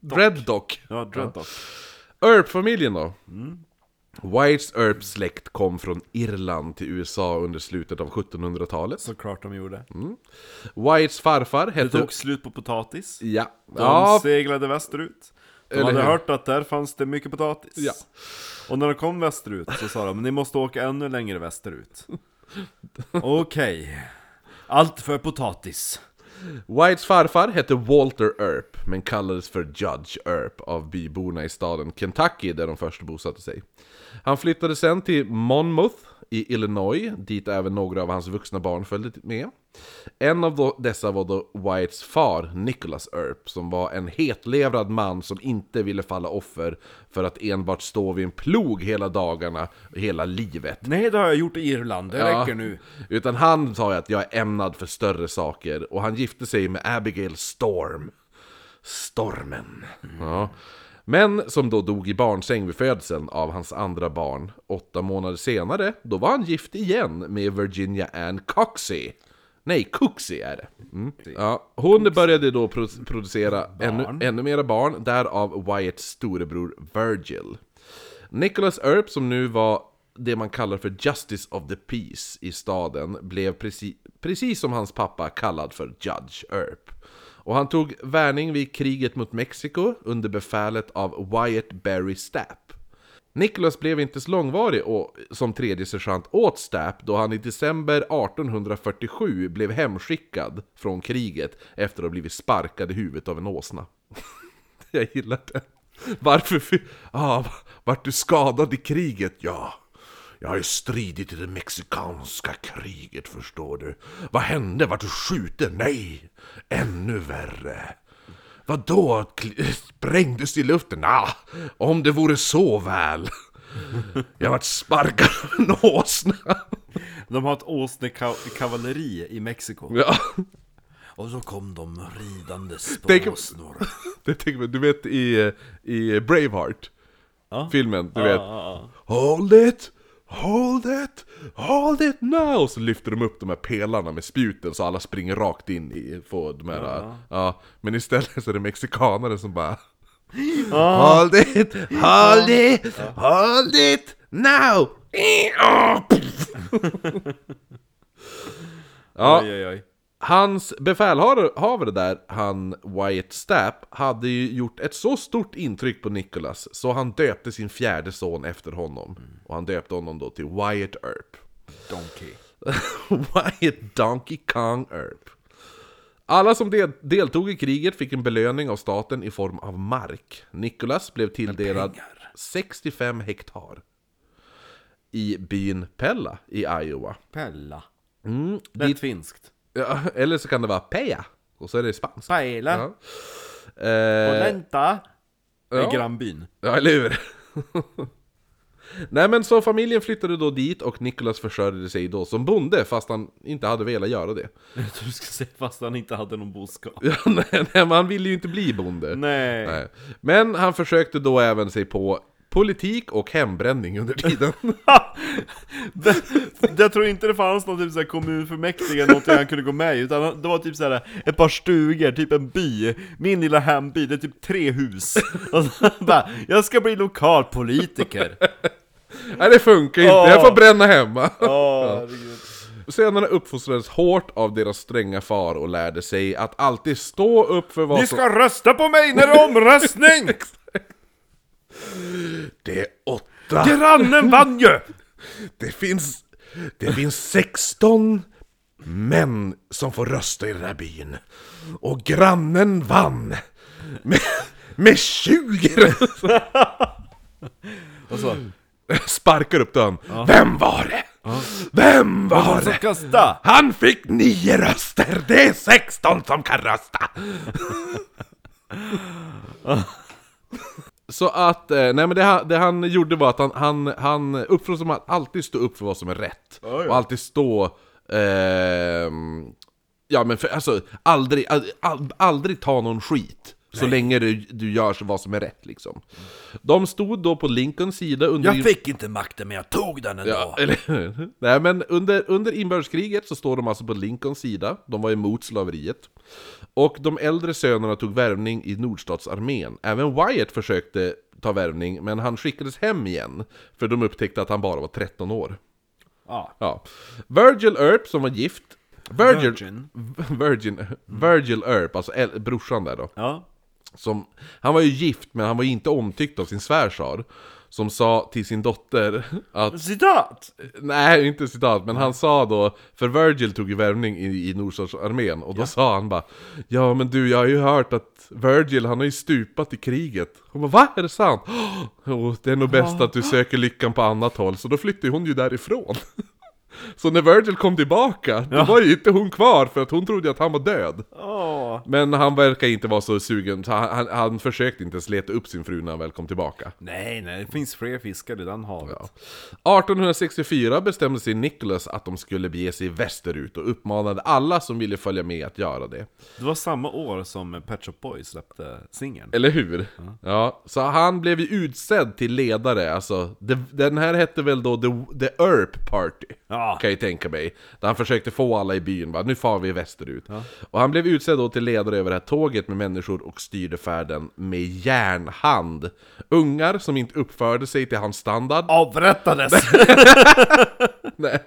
Dreadlock. Ja, dreadlock. Earp-familjen då? Whites Earps släkt kom från Irland till USA under slutet av 1700-talet. Såklart de gjorde. Mm. Whites farfar Det hette... tog slut på potatis. Ja. De Ja, seglade västerut. De Eller hade hur? hört att där fanns det mycket potatis. Ja. Och när de kom västerut så sa de, ni måste åka ännu längre västerut. Okej. Allt för potatis. Whites farfar hette Walter Earp, men kallades för Judge Earp av byborna i staden Kentucky där de först bosatte sig. Han flyttade sen till Monmouth i Illinois, dit även några av hans vuxna barn följde med. En av då, dessa var då Whites far, Nicholas Earp, som var en hetlevrad man som inte ville falla offer för att enbart stå vid en plog hela dagarna, hela livet. Nej, det har jag gjort i Irland, det Ja. räcker nu. Utan han sa ju att jag är ämnad för större saker och han gifte sig med Abigail Storm. Stormen. Ja. Men som då dog i barnsäng vid födseln av hans andra barn. Åtta månader senare, då var han gift igen med Virginia Ann Coxey. Nej, Cooksey är det. Mm. Ja, hon började då pro- producera ännu, ännu mera barn, därav Wyatts storebror Virgil. Nicholas Earp, som nu var det man kallar för Justice of the Peace i staden, blev precis, precis som hans pappa kallad för Judge Earp. Och han tog värning vid kriget mot Mexiko under befälet av Wyatt Berry Stapp. Nicholas blev inte så långvarig och, som tredje sergeant åt Stapp då han i december 1847 blev hemskickad från kriget efter att ha blivit sparkad i huvudet av en åsna. Jag gillar det. Varför... fy- Ah, vart du skadad i kriget? Ja. Jag har ju stridit i det mexikanska kriget, förstår du. Vad hände? Vart du skjuten? Nej! Ännu värre. Vadå? Kl- Sprängdes i luften? Ah, om det vore så väl. Jag vart sparkad av en åsna. De har ett åsnekavalleri i Mexiko. Ja, Och så kom de ridandes på Tänk- åsnor. det tänker man. Du vet i, i Braveheart. Ja. Filmen, du Ja, vet. ja, Hold it! Hold it! Hold it now! Och så lyfter de upp de här pelarna med spjuten så alla springer rakt in i får de här... Ja. men istället så är det mexikanare som bara... Hold it! Hold it! Hold it! Now! ja. ja, Oj, oj, oj. Hans befälhavare där, han Wyatt Stapp, hade ju gjort ett så stort intryck på Nicholas så han döpte sin fjärde son efter honom. Och han döpte honom då till Wyatt Earp. Donkey. Wyatt Donkey Kong Earp. Alla som del- deltog i kriget fick en belöning av staten i form av mark. Nicholas blev tilldelad 65 hektar i byn Pella i Iowa. Pella. Mm, Lätt finskt. ja, eller så kan det vara Peja, och så är det spanskt. Paella. Ja. Eh, Polenta. ja. I grannbyn. ja, eller hur? Nej men så familjen flyttade då dit och Nicholas försörjde sig då som bonde fast han inte hade velat göra det. Jag tror du skulle säga fast han inte hade någon boskap. Ja, nej, nej, men han ville ju inte bli bonde. Nej. Nej. Men han försökte då även sig på politik och hembränning under tiden. Det, jag tror inte det fanns någon typ så här kommunfullmäktige eller någonting han kunde gå med i, utan han- det var typ så här ett par stugor, typ en by. Min lilla hemby, det är typ tre hus. Och så bara, jag ska bli lokalpolitiker. nej det funkar inte, jag får bränna hemma. Åh, herregud. Senare uppfostrades hårt av deras stränga far och lärde sig att alltid stå upp för vad Ni som... ska rösta på mig när det är omröstning! Det är åtta! Grannen vann ju! Det finns, det finns 16 män som får rösta i den här byn. Och grannen vann! Med, med 20 röster. Och så, Sparkar upp dörren. Vem var det? Vem var så det? kasta! Han fick 9 röster! Det är 16 som kan rösta! Så att, eh, nej men det han, det han gjorde var att han, han, han uppfostrar som att alltid stå upp för vad som är rätt. Ja, ja. Och alltid stå... ehm, ja men för, alltså, aldrig, all, all, aldrig ta någon skit. Så länge du, du gör vad som är rätt liksom. De stod då på Lincolns sida under... Jag fick inte makten men jag tog den ändå. Ja, eller hur? Nej, men under, under inbördeskriget så står de alltså på Lincolns sida. De var emot slaveriet. Och de äldre sönerna tog värvning i nordstatsarmén. Även Wyatt försökte ta värvning, men han skickades hem igen. För de upptäckte att han bara var 13 år. Ja. Ja. Virgil Earp som var gift. Virgil, Virgin. Virgin, Virgil Earp, alltså äl- brorsan där då. Ja. Som, han var ju gift, men han var ju inte omtyckt av sin svärsar. Som sa till sin dotter att Citat! Nej, inte citat, men han sa då, för Virgil tog ju värvning i, i Nordstatsarmén, och då sa han bara Ja men du, jag har ju hört att Virgil, han har ju stupat i kriget. Hon bara Va? Är det sant? Oh, det är nog bäst att du söker lyckan på annat håll, så då flyttade hon ju därifrån. Så när Virgil kom tillbaka, då var ju inte hon kvar för att hon trodde att han var död. Åh. Men han verkar inte vara så sugen, så han, han, han försökte inte ens leta upp sin fru när han väl kom tillbaka. Nej, nej, det finns fler fiskar i den havet. Ja. 1864 bestämde sig Nicholas att de skulle bege sig västerut och uppmanade alla som ville följa med att göra det. Det var samma år som Pet Shop Boys släppte singeln. Eller hur? Ja, så han blev ju utsedd till ledare, alltså det, den här hette väl då The, The Earp Party, Ja. kan jag ju tänka mig. Där han försökte få alla i byn, bara, nu far vi västerut. Och han blev utsedd då till ledare över det här tåget med människor och styrde färden med järnhand. Ungar som inte uppförde sig till hans standard, Avrättades! Nej.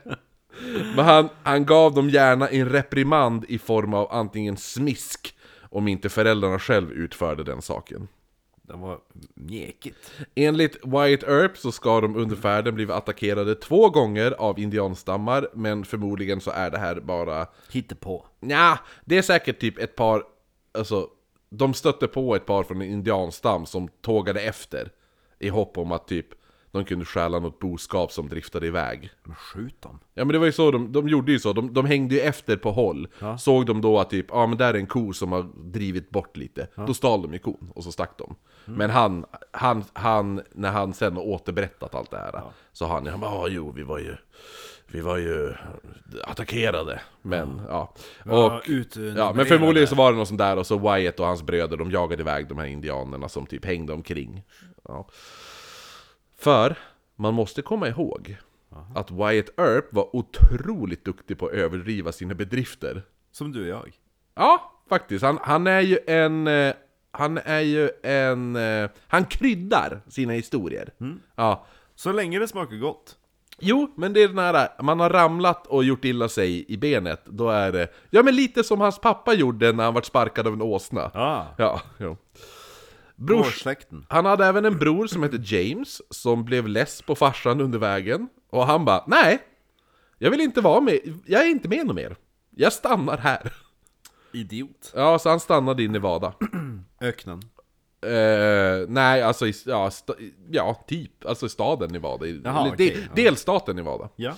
Men han, han gav dem gärna en reprimand i form av antingen smisk om inte föräldrarna själv utförde den saken. det var mjäkigt. Enligt Wyatt Earp så ska de under färden bli attackerade två gånger av indianstammar, men förmodligen så är det här bara... Hittepå. Nja, det är säkert typ ett par... Alltså, de stötte på ett par från en indianstam som tågade efter i hopp om att typ de kunde stjäla något boskap som driftade iväg. Men skjut dem. Ja men det var ju så, de, de gjorde ju så, de, de hängde ju efter på håll Såg de då att typ, ja ah, men där är en ko som har drivit bort lite Då stal de ju kon, och så stack de Men han, han, han, när han sen har återberättat allt det här Så han, han bara, ah, jo vi var ju, vi var ju attackerade Men ja, Ja, och ut, Ja, men förmodligen så var det någon sån där och så Wyatt och hans bröder de jagade iväg de här indianerna som typ hängde omkring. Ja. För man måste komma ihåg att Wyatt Earp var otroligt duktig på att överdriva sina bedrifter. Som du och jag. Ja, faktiskt. Han, han är ju en... eh, Han är ju en... eh, Han kryddar sina historier. Ja. Så länge det smakar gott. Jo, men det är den här, man har ramlat och gjort illa sig i benet, då är det... Ja men lite som hans pappa gjorde när han vart sparkad av en åsna. Ja. Ja, jo. Brors, Gårdsläkten. han hade även en bror som hette James, som blev less på farsan under vägen. Och han bara, nej! Jag vill inte vara med, jag är inte med någon mer. Jag stannar här. Idiot. Ja, så han stannade i Nevada. Öknen. Eh, nej, alltså i, ja, st- ja, typ, alltså i staden Nevada. I- Jaha, eller okej, del, ja. delstaten Nevada. Ja.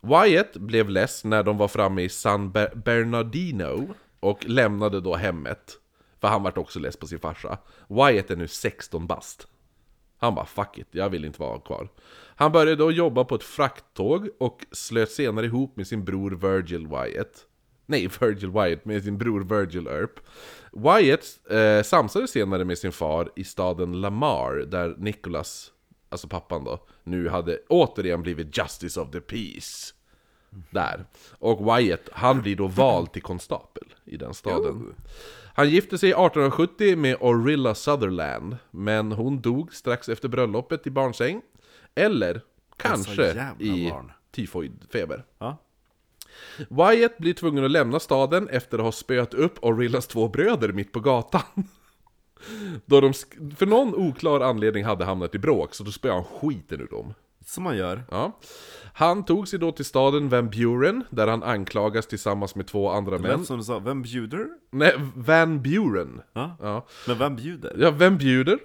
Wyatt blev less när de var framme i San Ber- Bernardino och lämnade då hemmet. För han vart också less på sin farsa. Wyatt är nu 16 bast. Han bara 'fuck it, jag vill inte vara kvar' Han började då jobba på ett frakttåg och slöt senare ihop med sin bror Virgil Wyatt Nej, Virgil Wyatt med sin bror Virgil Earp Wyatt eh, samsades senare med sin far i staden Lamar där Nicholas, alltså pappan då, nu hade återigen blivit Justice of the Peace där. Och Wyatt, han blir då vald till konstapel i den staden. Han gifte sig 1870 med Orilla Sutherland, men hon dog strax efter bröllopet i barnsäng. Eller kanske Alltså, jävla i barn. tyfoidfeber. Ja. Wyatt blir tvungen att lämna staden efter att ha spöat upp Orillas två bröder mitt på gatan. Då de, sk- för någon oklar anledning hade hamnat i bråk, så då spöade han skiten ur dem. Som man gör. Ja. Han tog sig då till staden Van Buren, där han anklagas tillsammans med två andra Det män. lät som du sa, vem bjuder? Nej, Van Buren. Ja. Ja. Men vem bjuder? Ja, vem bjuder?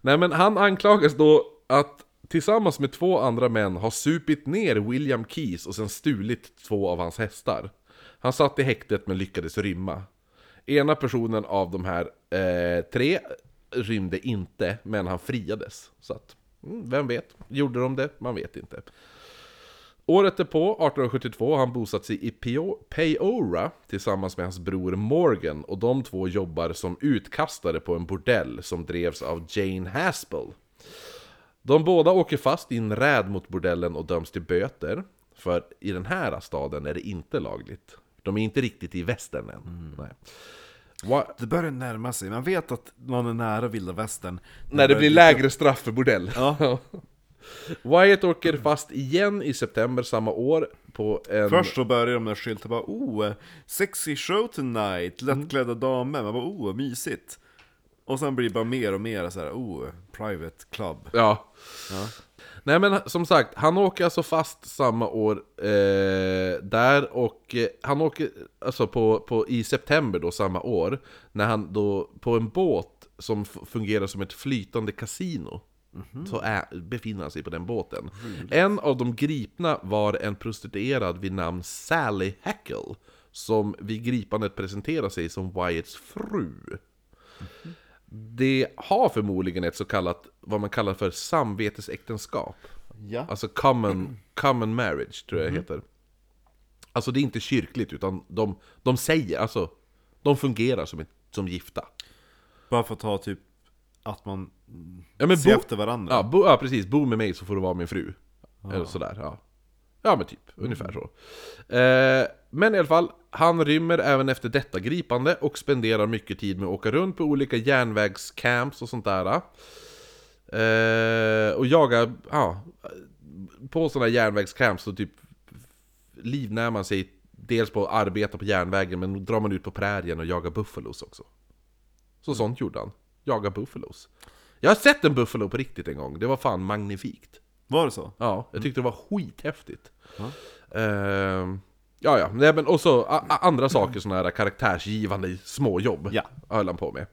Nej men han anklagas då att tillsammans med två andra män ha supit ner William Keys och sen stulit två av hans hästar. Han satt i häktet men lyckades rymma. Ena personen av de här eh, tre rymde inte, men han friades. Så att, mm, vem vet? Gjorde de det? Man vet inte. Året därpå, 1872, har han bosatt sig i Peo- Peora tillsammans med hans bror Morgan och de två jobbar som utkastare på en bordell som drevs av Jane Haspel. De båda åker fast i en räd mot bordellen och döms till böter. För i den här staden är det inte lagligt. De är inte riktigt i västern än. Nej. Wa- Det börjar närma sig, man vet att man är nära vilda västern När det börjar blir dyka lägre straff för bordell. Ja. Wyatt åker fast igen i september samma år på en... Först så börjar de med skyltar bara oh, sexy show tonight, lättklädda damer, man bara oh, mysigt. Och sen blir det bara mer och mer så här, oh, private club. Ja. Nej men som sagt, han åker alltså fast samma år eh, där och eh, han åker alltså på, på, i september då samma år när han då på en båt som f- fungerar som ett flytande kasino så är, befinner han sig på den båten. En av de gripna var en prostituerad vid namn Sally Hackle som vid gripandet presenterar sig som Wyatts fru. Det har förmodligen ett så kallat, vad man kallar för samvetesäktenskap. Ja. Alltså common, common marriage tror jag det heter. Alltså det är inte kyrkligt utan de, de säger, alltså de fungerar som, ett, som gifta. Bara för att ta typ att man mm, Ja, men ser bo- efter varandra. Ja, bo, ja precis, bo med mig så får du vara min fru. Eller sådär, ja. Ja men typ, ungefär så. Eh, men i alla fall, han rymmer även efter detta gripande och spenderar mycket tid med att åka runt på olika järnvägscamps och sånt där. Eh, och jagar, ja, på sådana järnvägscamps så typ livnär man sig dels på att arbeta på järnvägen men drar man ut på prärien och jagar buffalos också. Så sånt gjorde han. Jaga buffalos. Jag har sett en buffalo på riktigt en gång, det var fan magnifikt. Var det så? Ja, jag tyckte det var skithäftigt. Ehm, ja, ja, nej men och så a- a- andra saker, sådana här karaktärsgivande småjobb Ja. höll han på med.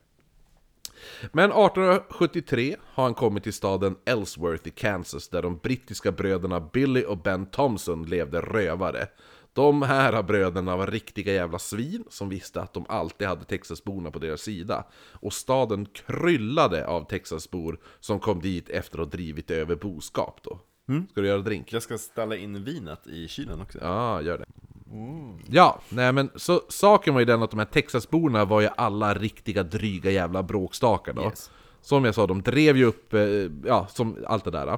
Men 1873 har han kommit till staden Ellsworth i Kansas där de brittiska bröderna Billy och Ben Thompson levde rövare. De här bröderna var riktiga jävla svin som visste att de alltid hade Texasborna på deras sida. Och staden kryllade av Texasbor som kom dit efter att ha drivit över boskap då. Ska du göra drink? Jag ska ställa in vinet i kylen också. Ja, gör det. Mm. Ja, nej men så saken var ju den att de här Texasborna var ju alla riktiga dryga jävla bråkstakar då. Yes. Som jag sa, de drev ju upp, eh, ja, som allt det där.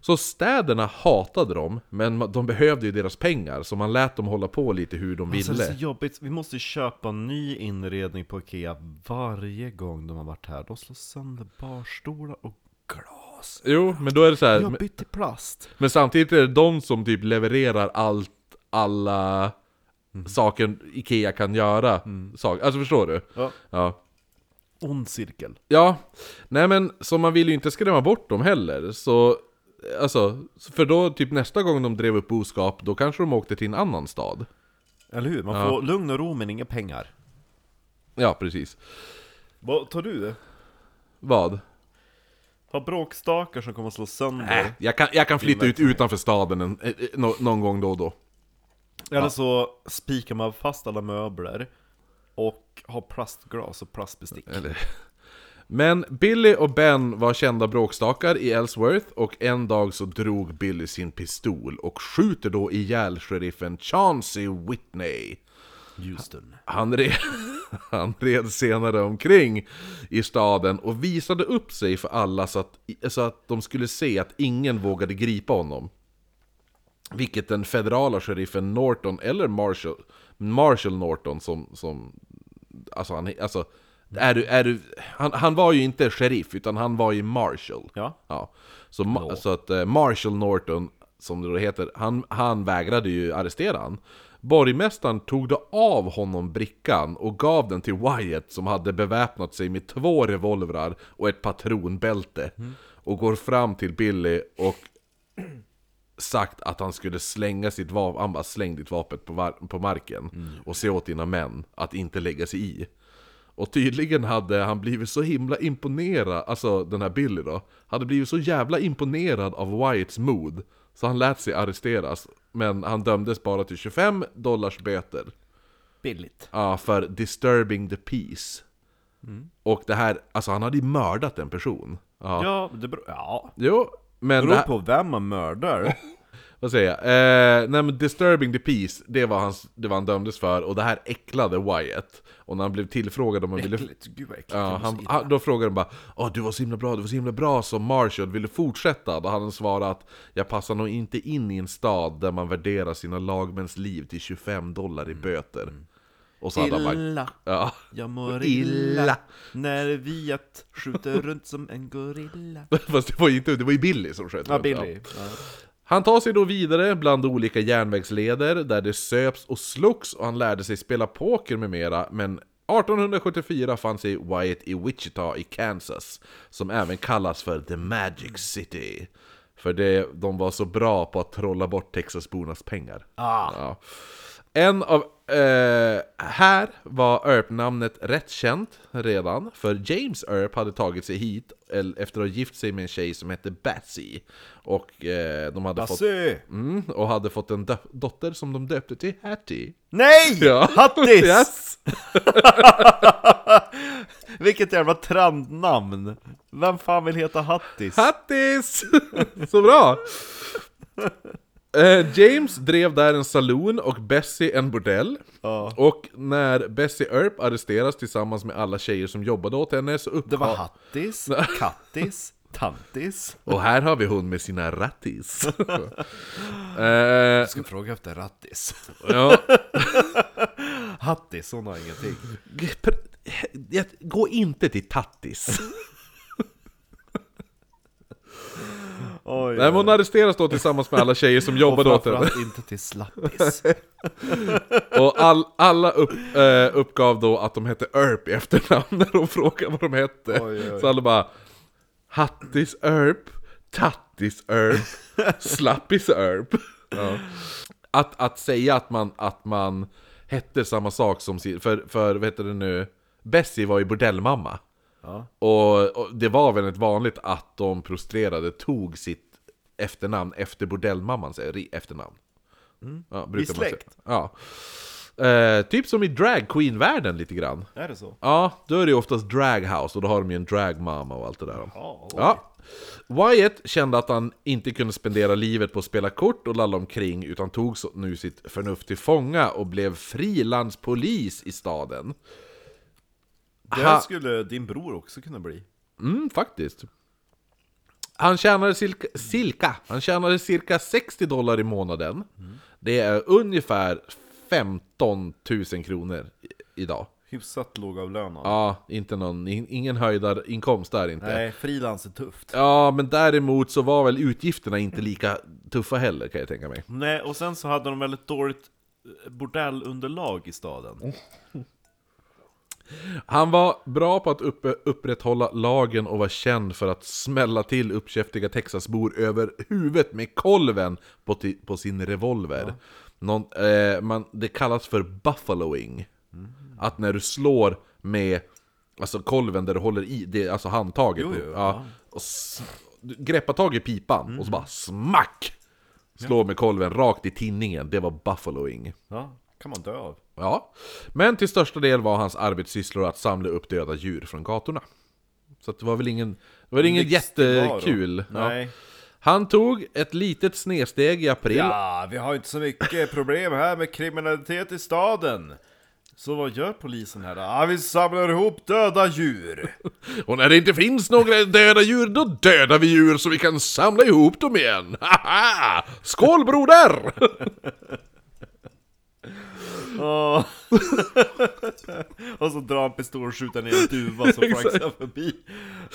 Så städerna hatade dem, men ma- de behövde ju deras pengar, så man lät dem hålla på lite hur de ville. Alltså, det är så jobbigt, vi måste köpa ny inredning på Ikea varje gång de har varit här. De slår sönder barstolar och glas. Jo, men då är det så här, Jag har men, bytt till plast. men samtidigt är det de som typ levererar allt, alla Mm. saker Ikea kan göra. Sak, alltså förstår du? Ja. Ja. Ond cirkel. Ja, nej men så man vill ju inte skrämma bort dem heller. Så, alltså, för då typ nästa gång de drev upp boskap, då kanske de åkte till en annan stad. Eller hur? Man får lugn och ro men inga pengar. Ja, precis. Vad tar du det? Vad? Har bråkstakar som kommer att slå sönder. Äh, jag kan, jag kan flytta ut utanför staden en, eh, eh, nå- någon gång då och då. Eller så spikar man fast alla möbler och har plastglas och plastbestick. Eller... Men Billy och Ben var kända bråkstakar i Ellsworth och en dag så drog Billy sin pistol och skjuter då ihjäl sheriffen Chauncey Whitney. Houston. Han red, han red senare omkring i staden och visade upp sig för alla så att, så att de skulle se att ingen vågade gripa honom. Vilket den federala sheriffen Norton eller Marshall, Marshall Norton som, som alltså han, alltså, är du, är du, han, han var ju inte sheriff utan han var ju Marshall. Ja. Ja. Så, ma- så att eh, Marshall Norton, som det då heter, han, han vägrade ju arrestera han. Borgmästaren tog då av honom brickan och gav den till Wyatt som hade beväpnat sig med två revolvrar och ett patronbälte. Och går fram till Billy och sagt att han skulle slänga sitt vapen, han bara släng ditt vapen på, var- på marken och se åt dina män att inte lägga sig i. Och tydligen hade han blivit så himla imponerad, alltså den här Billy då, hade blivit så jävla imponerad av Wyatts mod så han lät sig arresteras, men han dömdes bara till 25 dollars böter. Billigt. Ja, för disturbing the peace. Och det här, alltså han hade ju mördat en person. Ja. Ja, det beror, ja. Jo, men... Det det beror här- på vem man mördar. Vad säger jag? Eh, nej men Disturbing the Peace, det var, hans, det var han dömdes för och det här äcklade Wyatt. Och när han blev tillfrågad om han ville... Äckligt, gud vad äckligt. Ja, Det var så han, illa. han, då frågade de bara Åh, du var så himla bra, du var så himla bra som Marshall, vill du fortsätta? Då hade han svarat Jag passar nog inte in i en stad där man värderar sina lagmäns liv till 25 dollar Mm. i böter. Och så hade han bara, Illa, ja. jag mår Illa. illa. När Viat skjuter runt som en gorilla. Fast det var ju inte, det var ju Billy som sköt Ja, runt, Billy. Ja. Han tar sig då vidare bland olika järnvägsleder där det söps och slogs och han lärde sig spela poker med mera, men 1874 fann sig Wyatt i Wichita i Kansas, som även kallas för The Magic City. För det, de var så bra på att trolla bort Texasbornas pengar. Ah, Ja. En av... Eh, här var Earp-namnet rätt känt redan, för James Earp hade tagit sig hit el- efter att ha gift sig med en tjej som hette Bessie. Och eh, de hade fått... Basse! Mm, och hade fått en dö- dotter som de döpte till Hattie. Nej! Ja. Hattis! Yes. Vilket jävla trandnamn! Vem fan vill heta Hattis? Hattis! Så bra! Eh, James drev där en saloon och Bessie en bordell. Ja. Och när Bessie Earp arresteras tillsammans med alla tjejer som jobbade åt henne så uppgav... Det var Hattis, Kattis, Tantis. Och här har vi hon med sina rattis. eh, Jag ska fråga efter Rattis. ja, Hattis, hon har ingenting. G- pr- jag- Gå inte till Tattis. Oj, Nej, men hon arresteras då tillsammans med alla tjejer som typ. och jobbade åt henne. framförallt inte till Slappis. Och all, alla upp, eh, uppgav då att de hette Earp i efternamn när de frågade vad de hette. Oj, oj. Så alla bara Hattis Earp, Tattis Earp, Slappis Earp. Ja. Att, att säga att man, att man hette samma sak som sin, för, för vad heter det nu, Bessie var ju bordellmamma. Ja. Och, och det var väldigt vanligt att de prostrerade tog sitt efternamn efter bordellmammans ri- efternamn. Ja, brukar Mm. I man säga. släkt. Ja. Eh, typ som i drag queen världen lite grann. Är det så? Ja, då är det ju oftast draghouse och då har de ju en dragmamma och allt det där. Ja. Ja. Wyatt kände att han inte kunde spendera livet på att spela kort och lalla omkring utan tog så- nu sitt förnuft till fånga och blev frilanspolis i staden. Det Ha- skulle din bror också kunna bli. Mm, faktiskt. Han tjänade cirka, cirka, han tjänade cirka 60 dollar i månaden. Det är ungefär 15 000 kronor i, idag. Hyfsat lågavlönad. Ja, inte någon, in- ingen höjdarinkomst där inte. Nej, frilans är tufft. Ja, men däremot så var väl utgifterna inte lika tuffa heller kan jag tänka mig. Nej, och sen så hade de väldigt dåligt eh, bordellunderlag i staden. Oh. Han var bra på att uppe, upprätthålla lagen och var känd för att smälla till uppkäftiga Texasbor över huvudet med kolven på, ti- på sin revolver. Någon, eh, man, det kallas för buffaloing. Mm. Att när du slår med alltså kolven där du håller i, det, är alltså handtaget, Jo, på- jo, Mm. ja, och s- du greppar tag i pipan och så bara smack! Slå med kolven rakt i tinningen, det var buffaloing. Ja, kan man dö av. Ja, men till största del var hans arbetssysslor att samla upp döda djur från gatorna. Så att det var väl ingen, det var ingen Lyxtillvaro. jättekul. Ja. Nej. Han tog ett litet snedsteg i april. Ja, vi har ju inte så mycket problem här med kriminalitet i staden. Så vad gör polisen här då? Ja, vi samlar ihop döda djur. Och när det inte finns några döda djur, då dödar vi djur så vi kan samla ihop dem igen. Haha! Skål broder! Och, och så drar han pistol och skjuter ner en duva som flaxar förbi.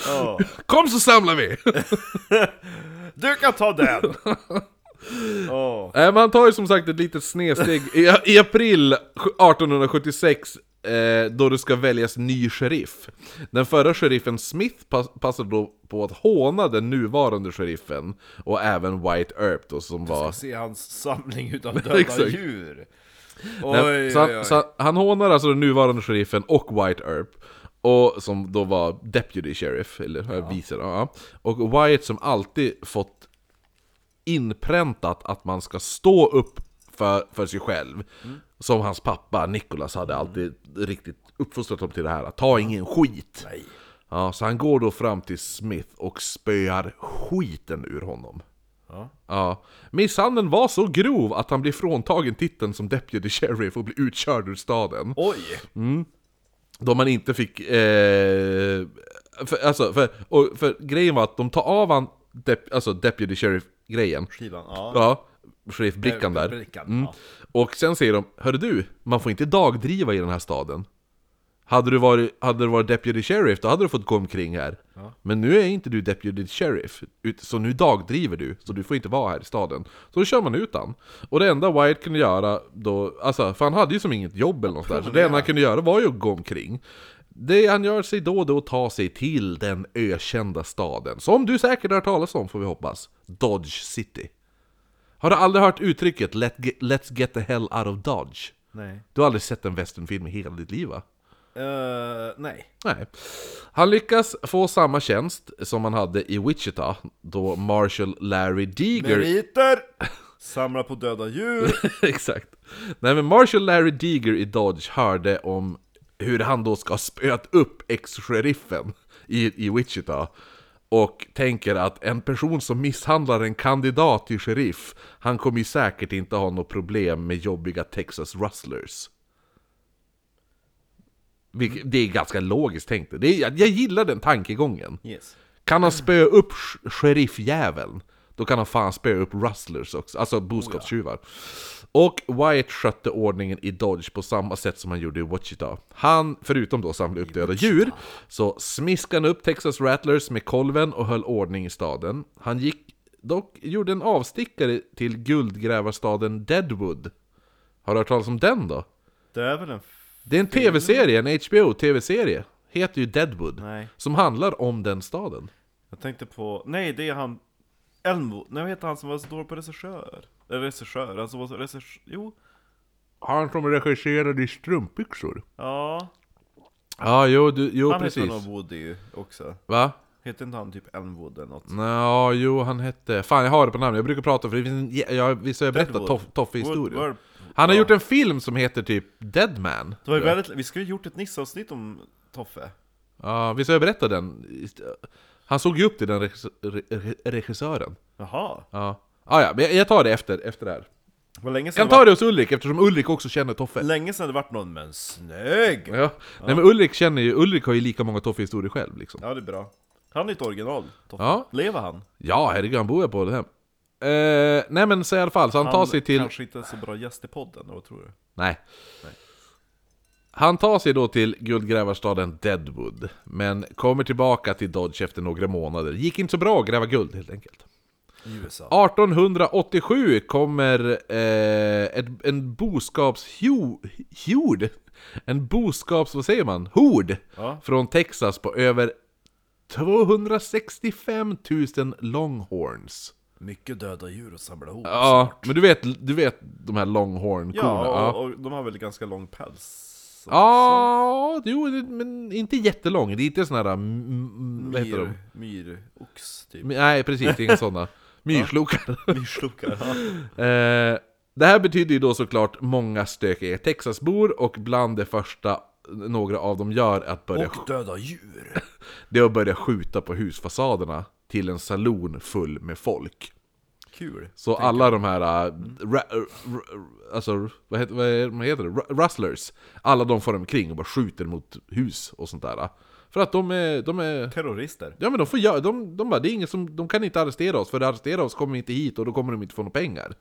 Ja. Kom så samlar vi! Du kan ta den! Ja. Nej, men han Eh, tar ju som sagt ett litet snedsteg i, i april 1876 eh, då det ska väljas ny sheriff. Den förra sheriffen Smith pass, passade då på att håna den nuvarande sheriffen och även White Earp då som var... se hans samling utav Exakt. döda djur. Oj, Nej, så, oj, han, oj. så han- han hånar alltså den nuvarande sheriffen och White Earp och som då var Deputy Sheriff, eller ja. vice då, ja. Och Wyatt som alltid fått inpräntat att man ska stå upp för, för sig själv. Mm. Som hans pappa Nicholas hade alltid riktigt uppfostrat dem till det här, att ta ingen skit. Nej. Ja, så han går då fram till Smith och spöar skiten ur honom. Ja. Ja. Misshandeln var så grov att han blev fråntagen titeln som deputy sheriff och blev utkörd ur staden. Oj! Då man inte fick... Eh, för, alltså, för, och, för grejen var att de tar av han dep, alltså deputy sheriff-grejen. Skivan, ja. Ja, sheriff-brickan där. Mm. Brickan, ja. Och sen säger de, hörru du, man får inte dagdriva i den här staden. Hade du varit, hade du varit deputy sheriff, då hade du fått gå omkring här. Men nu är inte du deputy sheriff, ut- så nu dagdriver du, så du får inte vara här i staden. Så då kör man ut han. Och det enda Wyatt kunde göra då, alltså, för han hade ju som inget jobb eller något där, så det enda han kunde göra var ju att gå omkring. Det han gör sig då och då ta sig till den ökända staden, som du säkert har hört talas om får vi hoppas, Dodge City. Har du aldrig hört uttrycket Let ge- “Let's get the hell out of Dodge”? Nej. Du har aldrig sett en westernfilm i hela ditt liv va? Eh, nej. Nej. Han lyckas få samma tjänst som han hade i Wichita, då Marshall Larry Deeger... Meriter! Samla på döda djur. Exakt. Nej men Marshall Larry Deeger i Dodge hörde om hur han då ska ha spöat upp ex-sheriffen i, i Wichita. Och tänker att en person som misshandlar en kandidat till sheriff, han kommer ju säkert inte ha något problem med jobbiga Texas rustlers. Vilket- Det är ganska logiskt tänkt. Det är, jag, jag gillar den tankegången. Yes. Kan han spöa upp sh- sheriffjäveln, då kan han fan spöa upp rustlers också, alltså boskapstjuvar. Och Wyatt skötte ordningen i Dodge på samma sätt som han gjorde i Wichita. Han, förutom då samla upp döda djur, så smiskade han upp Texas Rattlers med kolven och höll ordning i staden. Han gick dock, gjorde en avstickare till guldgrävarstaden Deadwood. Har du hört talas om den då? Det är väl en... f- Det är en tv-serie, en HBO-tv-serie. Heter ju Deadwood. Nej. Som handlar om den staden. Jag tänkte på... Nej, det är han... Elmo. Nej, vad heter han som var så dålig på regissör? Eller regissör, han som var så... Regissör... Jo. Han som regisserade i Strumpbyxor? Ja. Ja, jo, du, jo han heter precis. nog Woody också. Va? Heter inte han typ Elmwood eller något? Ja, jo, han hette... Fan, jag har det på namn. Jag brukar prata för det finns en... jä- Jag, visst har jag berättat Deadwood. Toff, Toffe-historier? Wood- Han har ja. gjort en film som heter typ Deadman. Det var ju väldigt... Vi skulle ju gjort ett Nisse-avsnitt om Toffe. Ja, visst har jag berättat den? Han såg ju upp till den regissö- re- re- regissören. Jaha. Ja. Ah, ja, men jag- jag tar det efter, efter det här. Det var länge Jag sedan kan ta det det hos Ulrik eftersom Ulrik också känner Toffe. var... Länge sedan det vart någon, men snygg! Ja. Nej men Ulrik känner ju, Ulrik har ju lika många Toffe-historier själv liksom. Ja, det är bra. Han är ett original, Toffe. Ja. Lever han? Ja, herregud, han bor ju på det här. Eh, nej men så i alla fall, så han, tar han sig till... kanske inte är så bra gäst i podden, eller vad tror du? Nej. Han tar sig då till guldgrävarstaden Deadwood, men kommer tillbaka till Dodge efter några månader. Gick inte så bra att gräva guld helt enkelt. I USA. 1887 kommer eh, ett, en boskapshjord, en boskaps, vad säger man, hord Ja. från Texas på över 265 000 longhorns. Mycket döda djur att samla ihop. Ja, men du vet, du vet de här longhorn-korna? Ja, Ja, och, och de har väl ganska lång päls? Ja, jo, det- men inte jättelång. Det är inte sådana här... mm, mm, Vad heter de? Myr, myrox typ. My- Nej, precis. Det är inga sådana. Myrslokar. Myrslokar. ja. Eh, det här betyder ju då såklart många stökiga Texasbor och bland det första några av dem gör är att börja, Och döda djur. det är att börja skjuta på husfasaderna till en saloon full med folk. Kul. Så alla de här, äh, ra, r- r- alltså vad heter, vad är- vad heter det? Ru- Rustlers, alla de får omkring och bara skjuter mot hus och sånt där. För att de är, de är Terrorister. ja men de får göra, de, de bara, det är ingen som, de kan inte arrestera oss, för arrestera oss kommer vi inte hit och då kommer de inte få några pengar.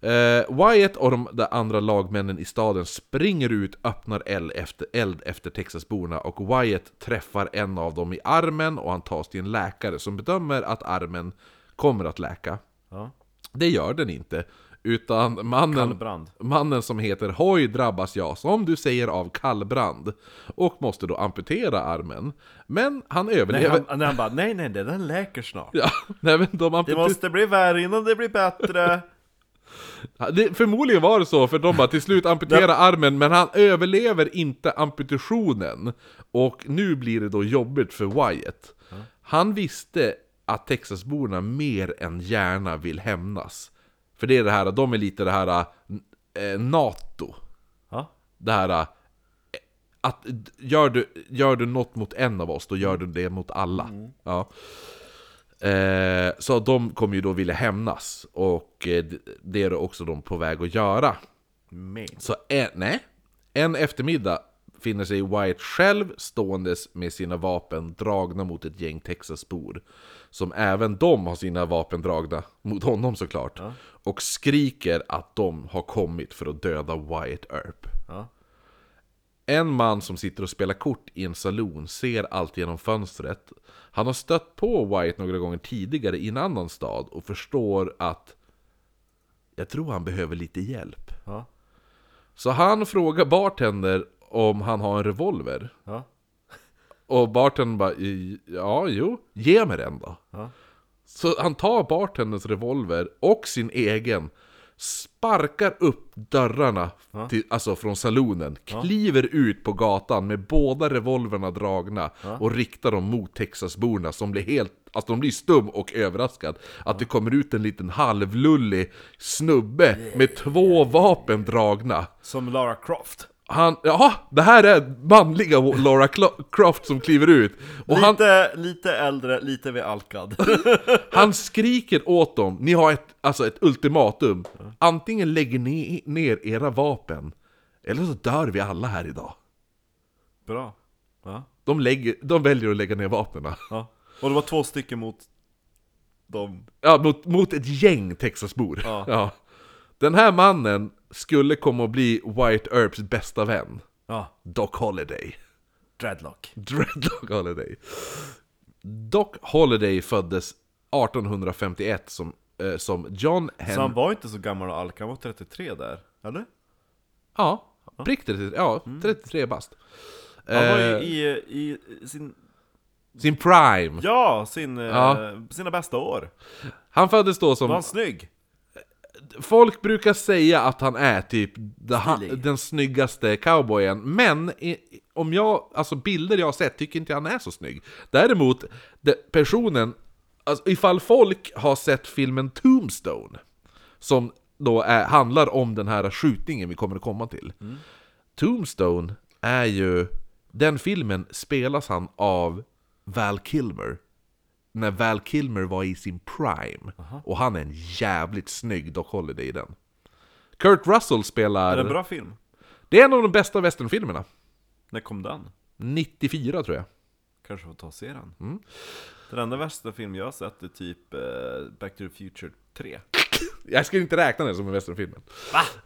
Eh, Wyatt och de där andra lagmännen i staden springer ut, öppnar eld efter, eld efter Texasborna och Wyatt träffar en av dem i armen och han tas till en läkare som bedömer att armen kommer att läka. Ja. Det gör den inte. Utan mannen, Kallbrand. mannen som heter Hoy drabbas ja, som du säger, av kallbrand. Och måste då amputera armen. Men han Nej, överlever. han, nej, han bara, nej nej, nej, den läker snart. Ja, nej, men de Det amputer... måste bli värre innan det blir bättre. det, förmodligen var det så, för de bara till slut amputerar armen, men han överlever inte amputationen. Och nu blir det då jobbigt för Wyatt. Han visste att Texasborna mer än gärna vill hämnas. För det är det här, de är lite det här eh, NATO. Ja. det här eh, att d- gör du, gör du något mot en av oss, då gör du det mot alla. Ja. Eh, så de kommer ju då vilja hämnas, och eh, d- det är då också de på väg att göra. Men. Så en, nej, en eftermiddag finner sig White själv ståendes med sina vapen dragna mot ett gäng Texasbor. Som även de har sina vapen dragna mot honom såklart. Och skriker att de har kommit för att döda Wyatt Earp. Ja. En man som sitter och spelar kort i en saloon ser allt genom fönstret. Han har stött på Wyatt några gånger tidigare i en annan stad och förstår att jag tror han behöver lite hjälp. Ja. Så han frågar bartender om han har en revolver. Ja. Och bartendern bara "I- ja, jo, ge mig den då. Ja. Så han tar bartenderns revolver och sin egen, sparkar upp dörrarna till, alltså från salonen, kliver ut på gatan med båda revolverna dragna och riktar dem mot Texasborna som blir helt Alltså de blir stum och överraskad Att det kommer ut en liten halvlullig snubbe med två vapen dragna Som Lara Croft. han, jaha, det här är manliga Laura Clo- Croft som kliver ut Och han, Lite, lite äldre, lite vid alkad. han skriker åt dem, ni har ett, alltså ett ultimatum Antingen lägger ni ner era vapen Eller så dör vi alla här idag Bra. Ja. De, lägger, de väljer att lägga ner vapnen ja. Och det var två stycken mot dem. Ja, mot, mot ett gäng Texasbor Ja. Ja. Den här mannen skulle komma att bli White Earps bästa vän Ja. Doc Holiday Dreadlock. Dreadlock Holiday. Doc Holiday föddes 1851 som, eh, som John Så han Henry... var inte så gammal och alkad, han var 33 där. Eller? Ja, Mm. prick 33, ja, 33 bast. Han var ju Eh, i, i sin, Sin prime. ja, sin, eh, Ja. sina bästa år. Han föddes då som... Var han snygg? Folk brukar säga att han är typ the, ha, Stilig. den snyggaste cowboyen, men i, i- om jag, alltså bilder jag har sett tycker inte jag han är så snygg. Däremot, de, personen, alltså, ifall folk har sett filmen Tombstone, som då är, handlar om den här skjutningen vi kommer att komma till. Mm. Tombstone är ju, den filmen spelas han av Val Kilmer. När Val Kilmer var i sin prime. Och han är en jävligt snygg Doc Holliday i den. Kurt Russell spelar... Är det en bra film? Det är en av de bästa westernfilmerna. När kom den? 94 tror jag. Kanske får ta och se den. Mm. Den enda värsta film jag har sett är typ eh, Back to the Future 3. Jag skulle inte räkna den som en westernfilm.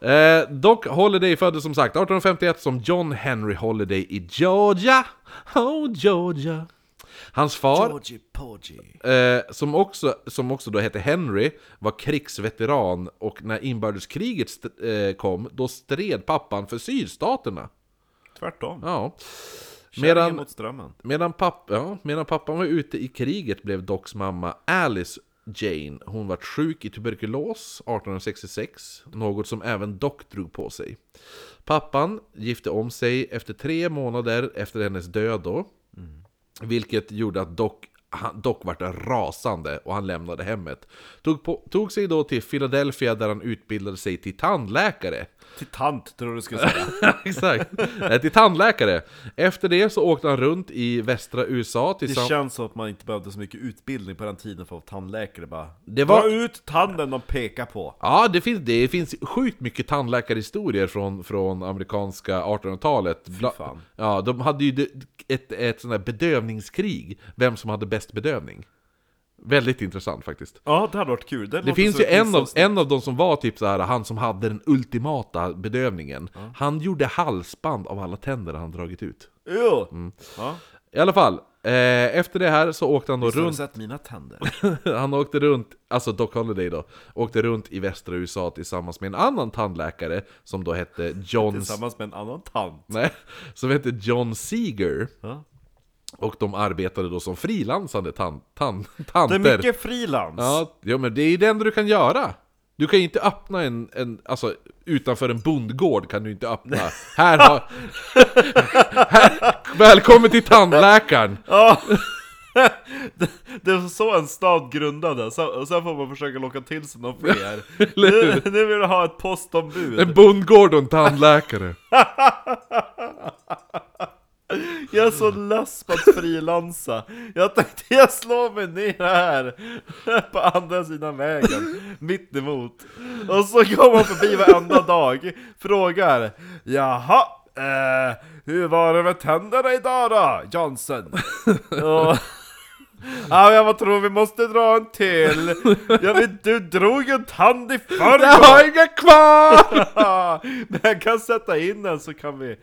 Eh, dock, Holiday föddes som sagt 1851 som John Henry Holiday i Georgia. Oh, Georgia. Hans far, Porgy Porgy. eh, som, också, som också då hette Henry, var krigsveteran och när inbördeskriget st- eh, kom, då stred pappan för sydstaterna. Tvärtom. Ja. Kärringen Medan, mot strömmen. Medan, papp, ja, medan pappan var ute i kriget blev Docs mamma Alice Jane, hon vart sjuk i tuberkulos 1866, något som även Doc drog på sig. Pappan gifte om sig efter tre månader efter hennes död då, vilket gjorde att Doc han, Doc vart rasande och han lämnade hemmet. Tog, på, tog sig då till Philadelphia där han utbildade sig till tandläkare. Till tant tror du skulle säga. Exakt! Nej, till tandläkare. Efter det så åkte han runt i västra USA Det tillsammans... känns som att man inte behövde så mycket utbildning på den tiden för att vara tandläkare bara. Det var- Dra ut tanden de pekar på. Ja, det finns, det finns sjukt mycket tandläkarhistorier från, från amerikanska 1800-talet. Bla- fan. Ja, de hade ju det- ett, ett sånt där bedövningskrig, vem som hade bäst bedövning. Väldigt intressant faktiskt. Ja, det hade varit kul. Det, Det låter finns som ju en ett av, gissavsnitt. en av dem som var typ så här, han som hade den ultimata bedövningen. Han gjorde halsband av alla tänder han dragit ut. Jo! Mm. Ja. I alla fall, eh, efter det här så åkte han då Har du runt... sett mina tänder? Han åkte runt, alltså Doc Holliday då, åkte runt i västra USA tillsammans med en annan tandläkare som då hette John... Tillsammans med en annan tant. Nej, som hette John Seeger. Ja. Och de arbetade då som frilansande tan, tan, Det tanter. är mycket frilans. Ja, ja, men det är ju det enda du kan göra. Du kan ju inte öppna en, en alltså utanför en bondgård kan du inte öppna. Här har... här, välkommen till tandläkaren! Ja. Det är så en stad grundades, sen sen får man försöka locka till sig någon fler. Nu, nu vill du ha ett postombud. En bondgård och en tandläkare. Jag är så less på att frilansa. Jag tänkte jag slår mig ner här, på andra sidan vägen, mitt emot. Och så kommer han förbi varenda dag, frågar Jaha, eh, hur var det med tänderna idag då, Johnson? Och, Ja, jag vad tror vi måste dra en till? Jag vet, du drog en tand i Jag har förrgår! inga kvar! Men jag kan sätta in den så kan vi...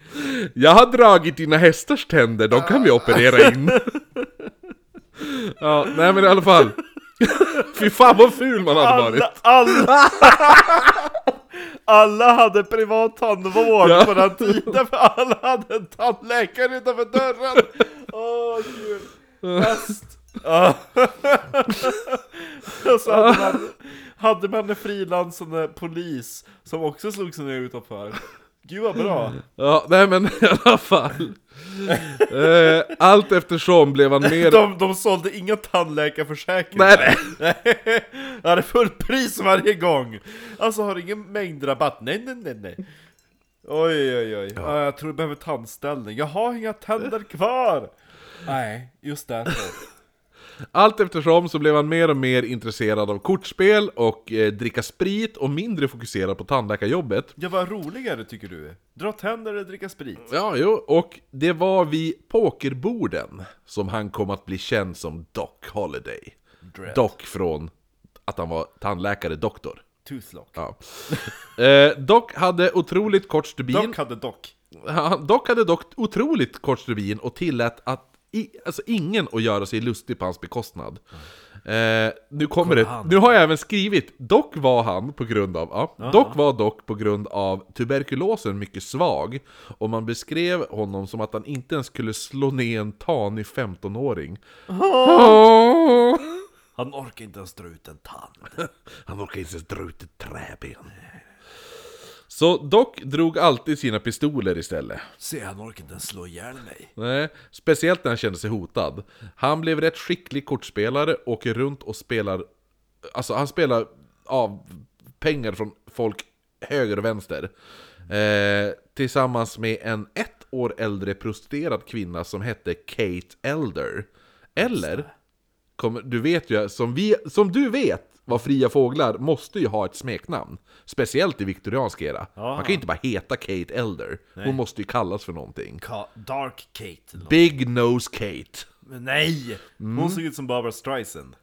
Jag har dragit dina hästars tänder, de kan vi operera in. Ja, nej men i alla fall. Fy fan vad ful man hade varit. Alla, alla, alla hade privat tandvård Ja. på den tiden för alla hade en tandläkare utanför dörren! Åh gud! Bäst! Ja. Och så hade man, hade man en frilansande polis som också slog sig ner utanför. Gud vad bra! Ja, nej men i alla fall. Eh, allt eftersom blev han mer... De, de sålde inga tandläkarförsäkringar. Nej, nej. Nej, ja, det är full pris varje gång! Alltså har du ingen mängdrabatt? Nej, nej, nej, nej. Oj, oj, oj. Ja. jag tror du behöver tandställning. Jag har inga tänder kvar! Nej, just därför. Allt eftersom så blev han mer och mer intresserad av kortspel och eh, dricka sprit och mindre fokuserad på tandläkarjobbet. Jag var roligare tycker du? Dra tänder eller dricka sprit? Ja, jo, och det var vid pokerborden som han kom att bli känd som Doc Holiday. Dread. Doc från att han var tandläkare, doktor. Toothlock. Ja. eh, Doc hade otroligt kort stubin. Dock hade dock. Han- Doc hade dock otroligt kort stubin och tillät att i, alltså ingen att göra sig lustig på hans bekostnad. Eh, nu kommer det. Nu har jag även skrivit. Dock var han på grund av, ja, dock var dock på grund av tuberkulosen mycket svag. Och man beskrev honom som att han inte ens skulle slå ner en tanig 15-åring. Åh. Han orkar inte ens dra ut en tand. Han orkar inte ens dra ut ett träben. Så Doc drog alltid sina pistoler istället. Se, han orkar inte ens slå ihjäl mig. Nej, speciellt när han kände sig hotad. Han blev rätt skicklig kortspelare, åker runt och spelar... Alltså han spelar av pengar från folk höger och vänster. Eh, tillsammans med en ett år äldre prostituerad kvinna som hette Kate Elder. Eller, kommer- du vet ju, som, vi, som du vet vad fria fåglar måste ju ha ett smeknamn. Speciellt i viktoriansk era. Man kan ju inte bara heta Kate Elder. Hon måste ju kallas för någonting. Ka- Dark Kate. eller nåt. Big Nose Kate. Men Nej! Hon såg ut som Barbara Streisand.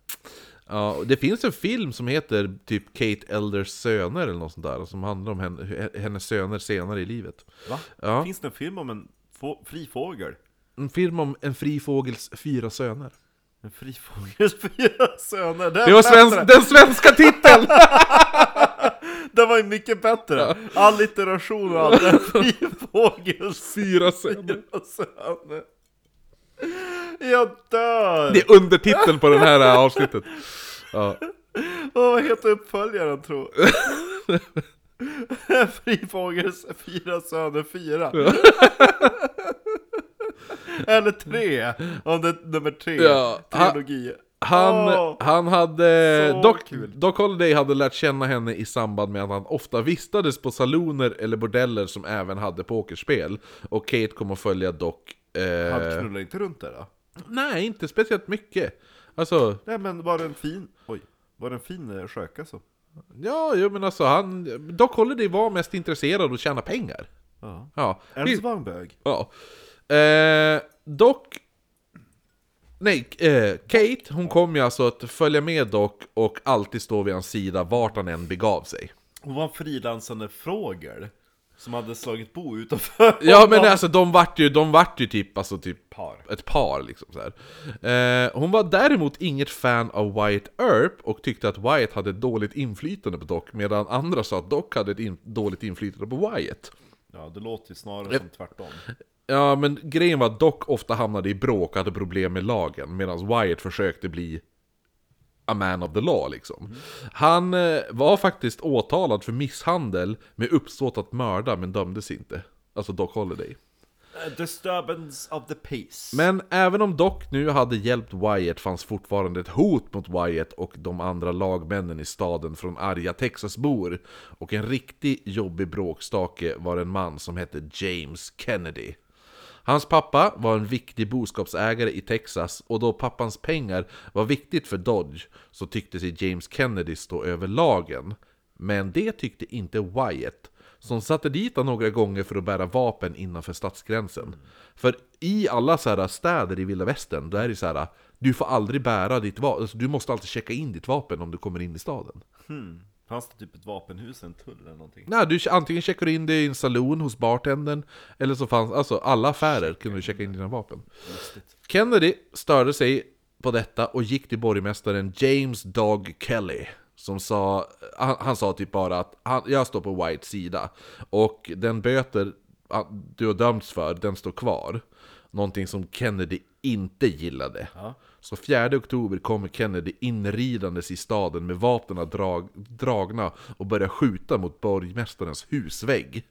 Ja, och det finns en film som heter typ Kate Elders söner eller något sånt där, som handlar om henne, hennes söner senare i livet. Va? Ja. Finns det en film om en få- fri fågel? En film om en fri fågels fyra söner. En fri fågels fyra söner. Den Det var bättre. svensk, den svenska titeln! Den var ju mycket bättre! Allitteration och allt, en fri fågels Fyra söner. fyra söner. Jag dör! Det är undertiteln på det här eh, avsnittet. Ja. Åh, vad heter uppföljaren tro? fri fågels fyra söner fyra. Eller tre, om det är nummer tre. Ja, ha- Trilogi. Han, Eh. Åh. han hade... Så Doc, kul. Doc Holliday hade lärt känna henne i samband med att han ofta vistades på saloner eller bordeller som även hade pokerspel. Och Kate kom att följa Doc... eh, Han knullar inte runt där då? Nej, inte speciellt mycket. Alltså, Nej men var det en fin, oj, var det en fin eh, sköka så? ja, jo, men alltså han... Doc Holliday var mest intresserad av att tjäna pengar. Ja. Ja. Eller så var han bög. ja. Eh, Doc... Nej, eh, Kate, hon kom ju alltså att följa med Doc och alltid stå vid hans sida vart han än begav sig. Hon var en frilansande fågel som hade slagit bo utanför Ja men alltså de vart ju, de vart ju typ, alltså typ par. ett par liksom så här. Eh, hon var däremot inget fan av Wyatt Earp och tyckte att Wyatt hade ett dåligt inflytande på Doc medan andra sa att Doc hade ett in- dåligt inflytande på Wyatt. Ja, det låter ju snarare som tvärtom. Ja men grejen var att Doc ofta hamnade i bråk och hade problem med lagen medan Wyatt försökte bli a man of the law liksom. Han eh, var faktiskt åtalad för misshandel med uppsåt att mörda men dömdes inte. Alltså Doc Holiday. Disturbance of the peace. Men även om Doc nu hade hjälpt Wyatt fanns fortfarande ett hot mot Wyatt och de andra lagmännen i staden från arga Texasbor. Och en riktig jobbig bråkstake var en man som hette James Kennedy. Hans pappa var en viktig boskapsägare i Texas och då pappans pengar var viktigt för Dodge så tyckte sig James Kennedy stå över lagen. Men det tyckte inte Wyatt som satte dit honom några gånger för att bära vapen innanför stadsgränsen. För i alla så här städer i vilda västern, där är det så här du får aldrig bära ditt vapen, alltså, du måste alltid checka in ditt vapen om du kommer in i staden. Fanns det typ ett vapenhus, en tull eller någonting? Nej, du, antingen checkar du in det i en saloon hos bartendern, eller så fanns, alltså alla affärer kunde du checka in dina vapen. Kennedy störde sig på detta och gick till borgmästaren James Dog Kelly. Som sa, han, han sa typ bara att han, jag står på Whites sida och den böter ah, du har dömts för, den står kvar. Någonting som Kennedy inte gillade. Så 4 oktober kommer Kennedy inridandes i staden med vapnen drag, dragna och börjar skjuta mot borgmästarens husvägg.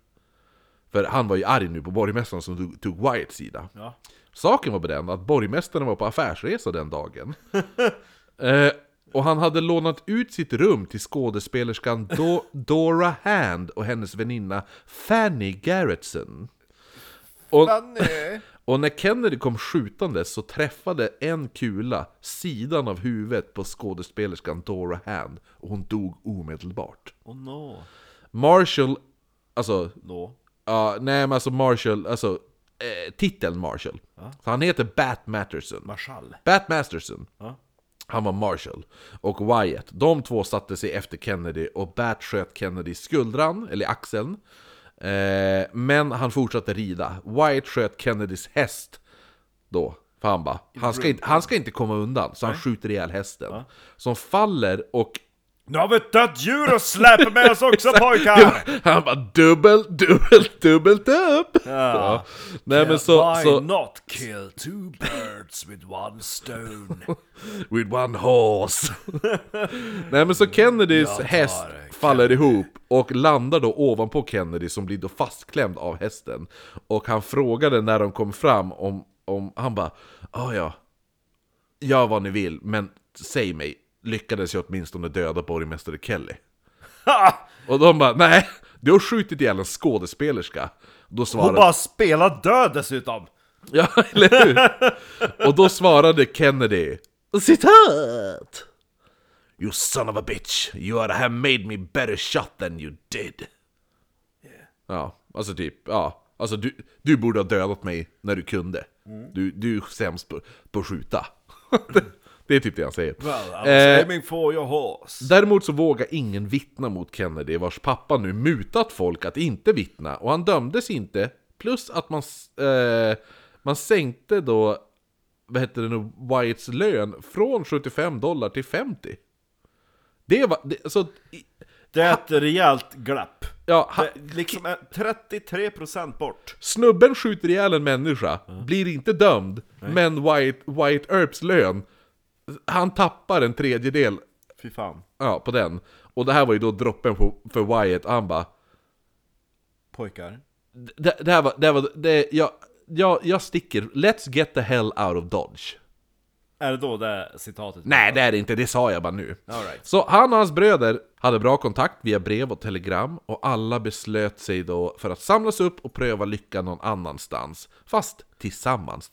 För han var ju arg nu på borgmästaren som tog, tog Wyatts sida. Ja. Saken var på den att borgmästaren var på affärsresa den dagen. eh, och han hade lånat ut sitt rum till skådespelerskan Do- Dora Hand och hennes väninna Fanny Garretson. Och, Fanny! och när Kennedy kom skjutandes så träffade en kula sidan av huvudet på skådespelerskan Dora Hand och hon dog omedelbart. Oh no. Marshall, alltså No. Ja, nej men alltså Marshall, alltså eh, titeln Marshall. Så han heter Bat Matterson. Marshall. Bat Masterson. Ja. Han var Marshall. Och Wyatt, de två satte sig efter Kennedy och Bat sköt Kennedy i skuldran, eller i axeln. Eh, men han fortsatte rida. Wyatt sköt Kennedys häst då. För han bara, han ska, inte, han ska inte komma undan. Så han skjuter ihjäl hästen. Som faller och Nu har vi ett dött djur att släpa med oss också pojkar! han bara dubbel, dubbel, dubbelt upp! Ja. Så. Nej men så, Why så, not? Kill two birds with one stone. With one horse! Nej men så Kennedys häst faller ihop och landar då ovanpå Kennedy som blir då fastklämd av hästen. Och han frågade när de kom fram om, om han bara ah, ja, gör vad ni vill men säg mig, lyckades jag åtminstone döda borgmästare Kelly? Ha! Och de bara nej, du har skjutit ihjäl en skådespelerska. Då svarade Hon bara spelar död dessutom! Ja, eller hur? Och då svarade Kennedy Citat! You son of a bitch, you are have made me better shot than you did Ja, alltså typ, ja Alltså du, du borde ha dödat mig när du kunde Mm. du, du är sämst på, på att skjuta Det är typ det han säger Well, I was Eh, aiming for your horse. Däremot så vågar ingen vittna mot Kennedy vars pappa nu mutat folk att inte vittna och han dömdes inte plus att man, s- eh, man sänkte då vad heter det nu, Wyatts lön från 75 dollar till 50. Det var, det, så, i- Det är ett rejält glapp. ja, ha, Det är liksom är 33% bort. snubben skjuter ihjäl en människa, blir inte dömd, men Wyatt, Wyatt Earps lön, han tappar en tredjedel Fy fan. ja, på den. Och det här var ju då droppen på, för Wyatt, han bara Pojkar. Det, det här var, det här var, det, jag, jag, jag sticker, let's get the hell out of Dodge. Är det då det citatet? Nej det är det inte, det sa jag bara nu. All right. Så han och hans bröder hade bra kontakt via brev och telegram och alla beslöt sig då för att samlas upp och pröva lycka någon annanstans, fast tillsammans.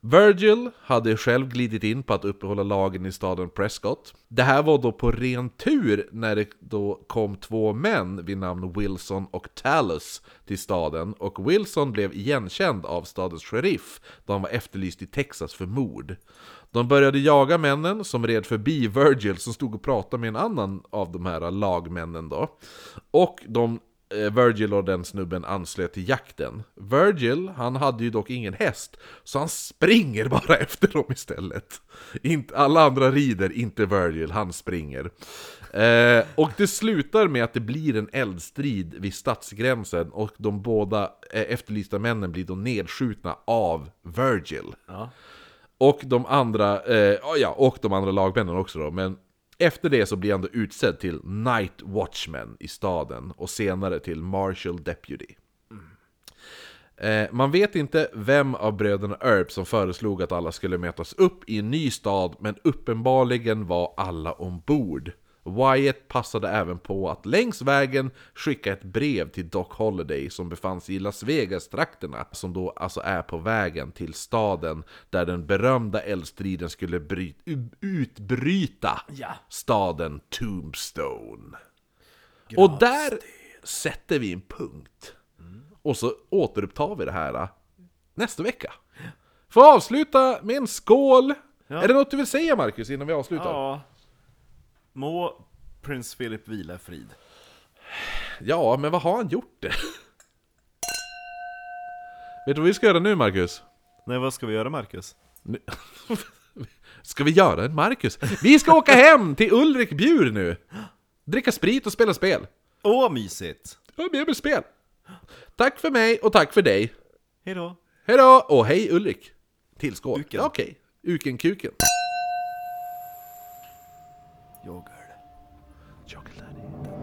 Virgil hade själv glidit in på att uppehålla lagen i staden Prescott. Det här var då på ren tur när det då kom två män vid namn Wilson och Talus till staden och Wilson blev igenkänd av stadens sheriff då han var efterlyst i Texas för mord. De började jaga männen som red förbi Virgil som stod och pratade med en annan av de här lagmännen då. Och de Eh, Virgil och den snubben anslöt till jakten. Virgil, han hade ju dock ingen häst, så han springer bara efter dem istället. Inte, alla andra rider, inte Virgil, han springer. Eh, och det slutar med att det blir en eldstrid vid stadsgränsen och de båda eh, efterlysta männen blir då nedskjutna av Virgil. Ja. Och de andra, eh, ja, och de andra lagmännen också då, men efter det så blir han då utsedd till Night Watchman i staden och senare till Marshal Deputy. Eh, man vet inte vem av bröderna Earp som föreslog att alla skulle mötas upp i en ny stad, men uppenbarligen var alla ombord. Wyatt passade även på att längs vägen skicka ett brev till Doc Holliday som befann sig i Las Vegas-trakterna, som då alltså är på vägen till staden där den berömda eldstriden skulle bry- u- utbryta Ja. staden Tombstone. Och där sätter vi en punkt. Och så återupptar vi det här eh, nästa vecka. Får avsluta med en skål! Är det något du vill säga Marcus innan vi avslutar? Ja. Må prins Philip vila i frid. Ja, men vad har han gjort det? Vet du vad vi ska göra nu, Marcus? Nej, vad ska vi göra Marcus? Nu... Ska vi göra en Marcus? Vi ska åka hem till Ulrik Bjur nu! Dricka sprit och spela spel. Åh, mysigt! Jag är med med spel. Tack för mig och tack för dig. Hejdå! Hej då och hej Ulrik! Till skål. Uken. Ja, Okej, Uken-kuken. Yoghurt. Chocolate.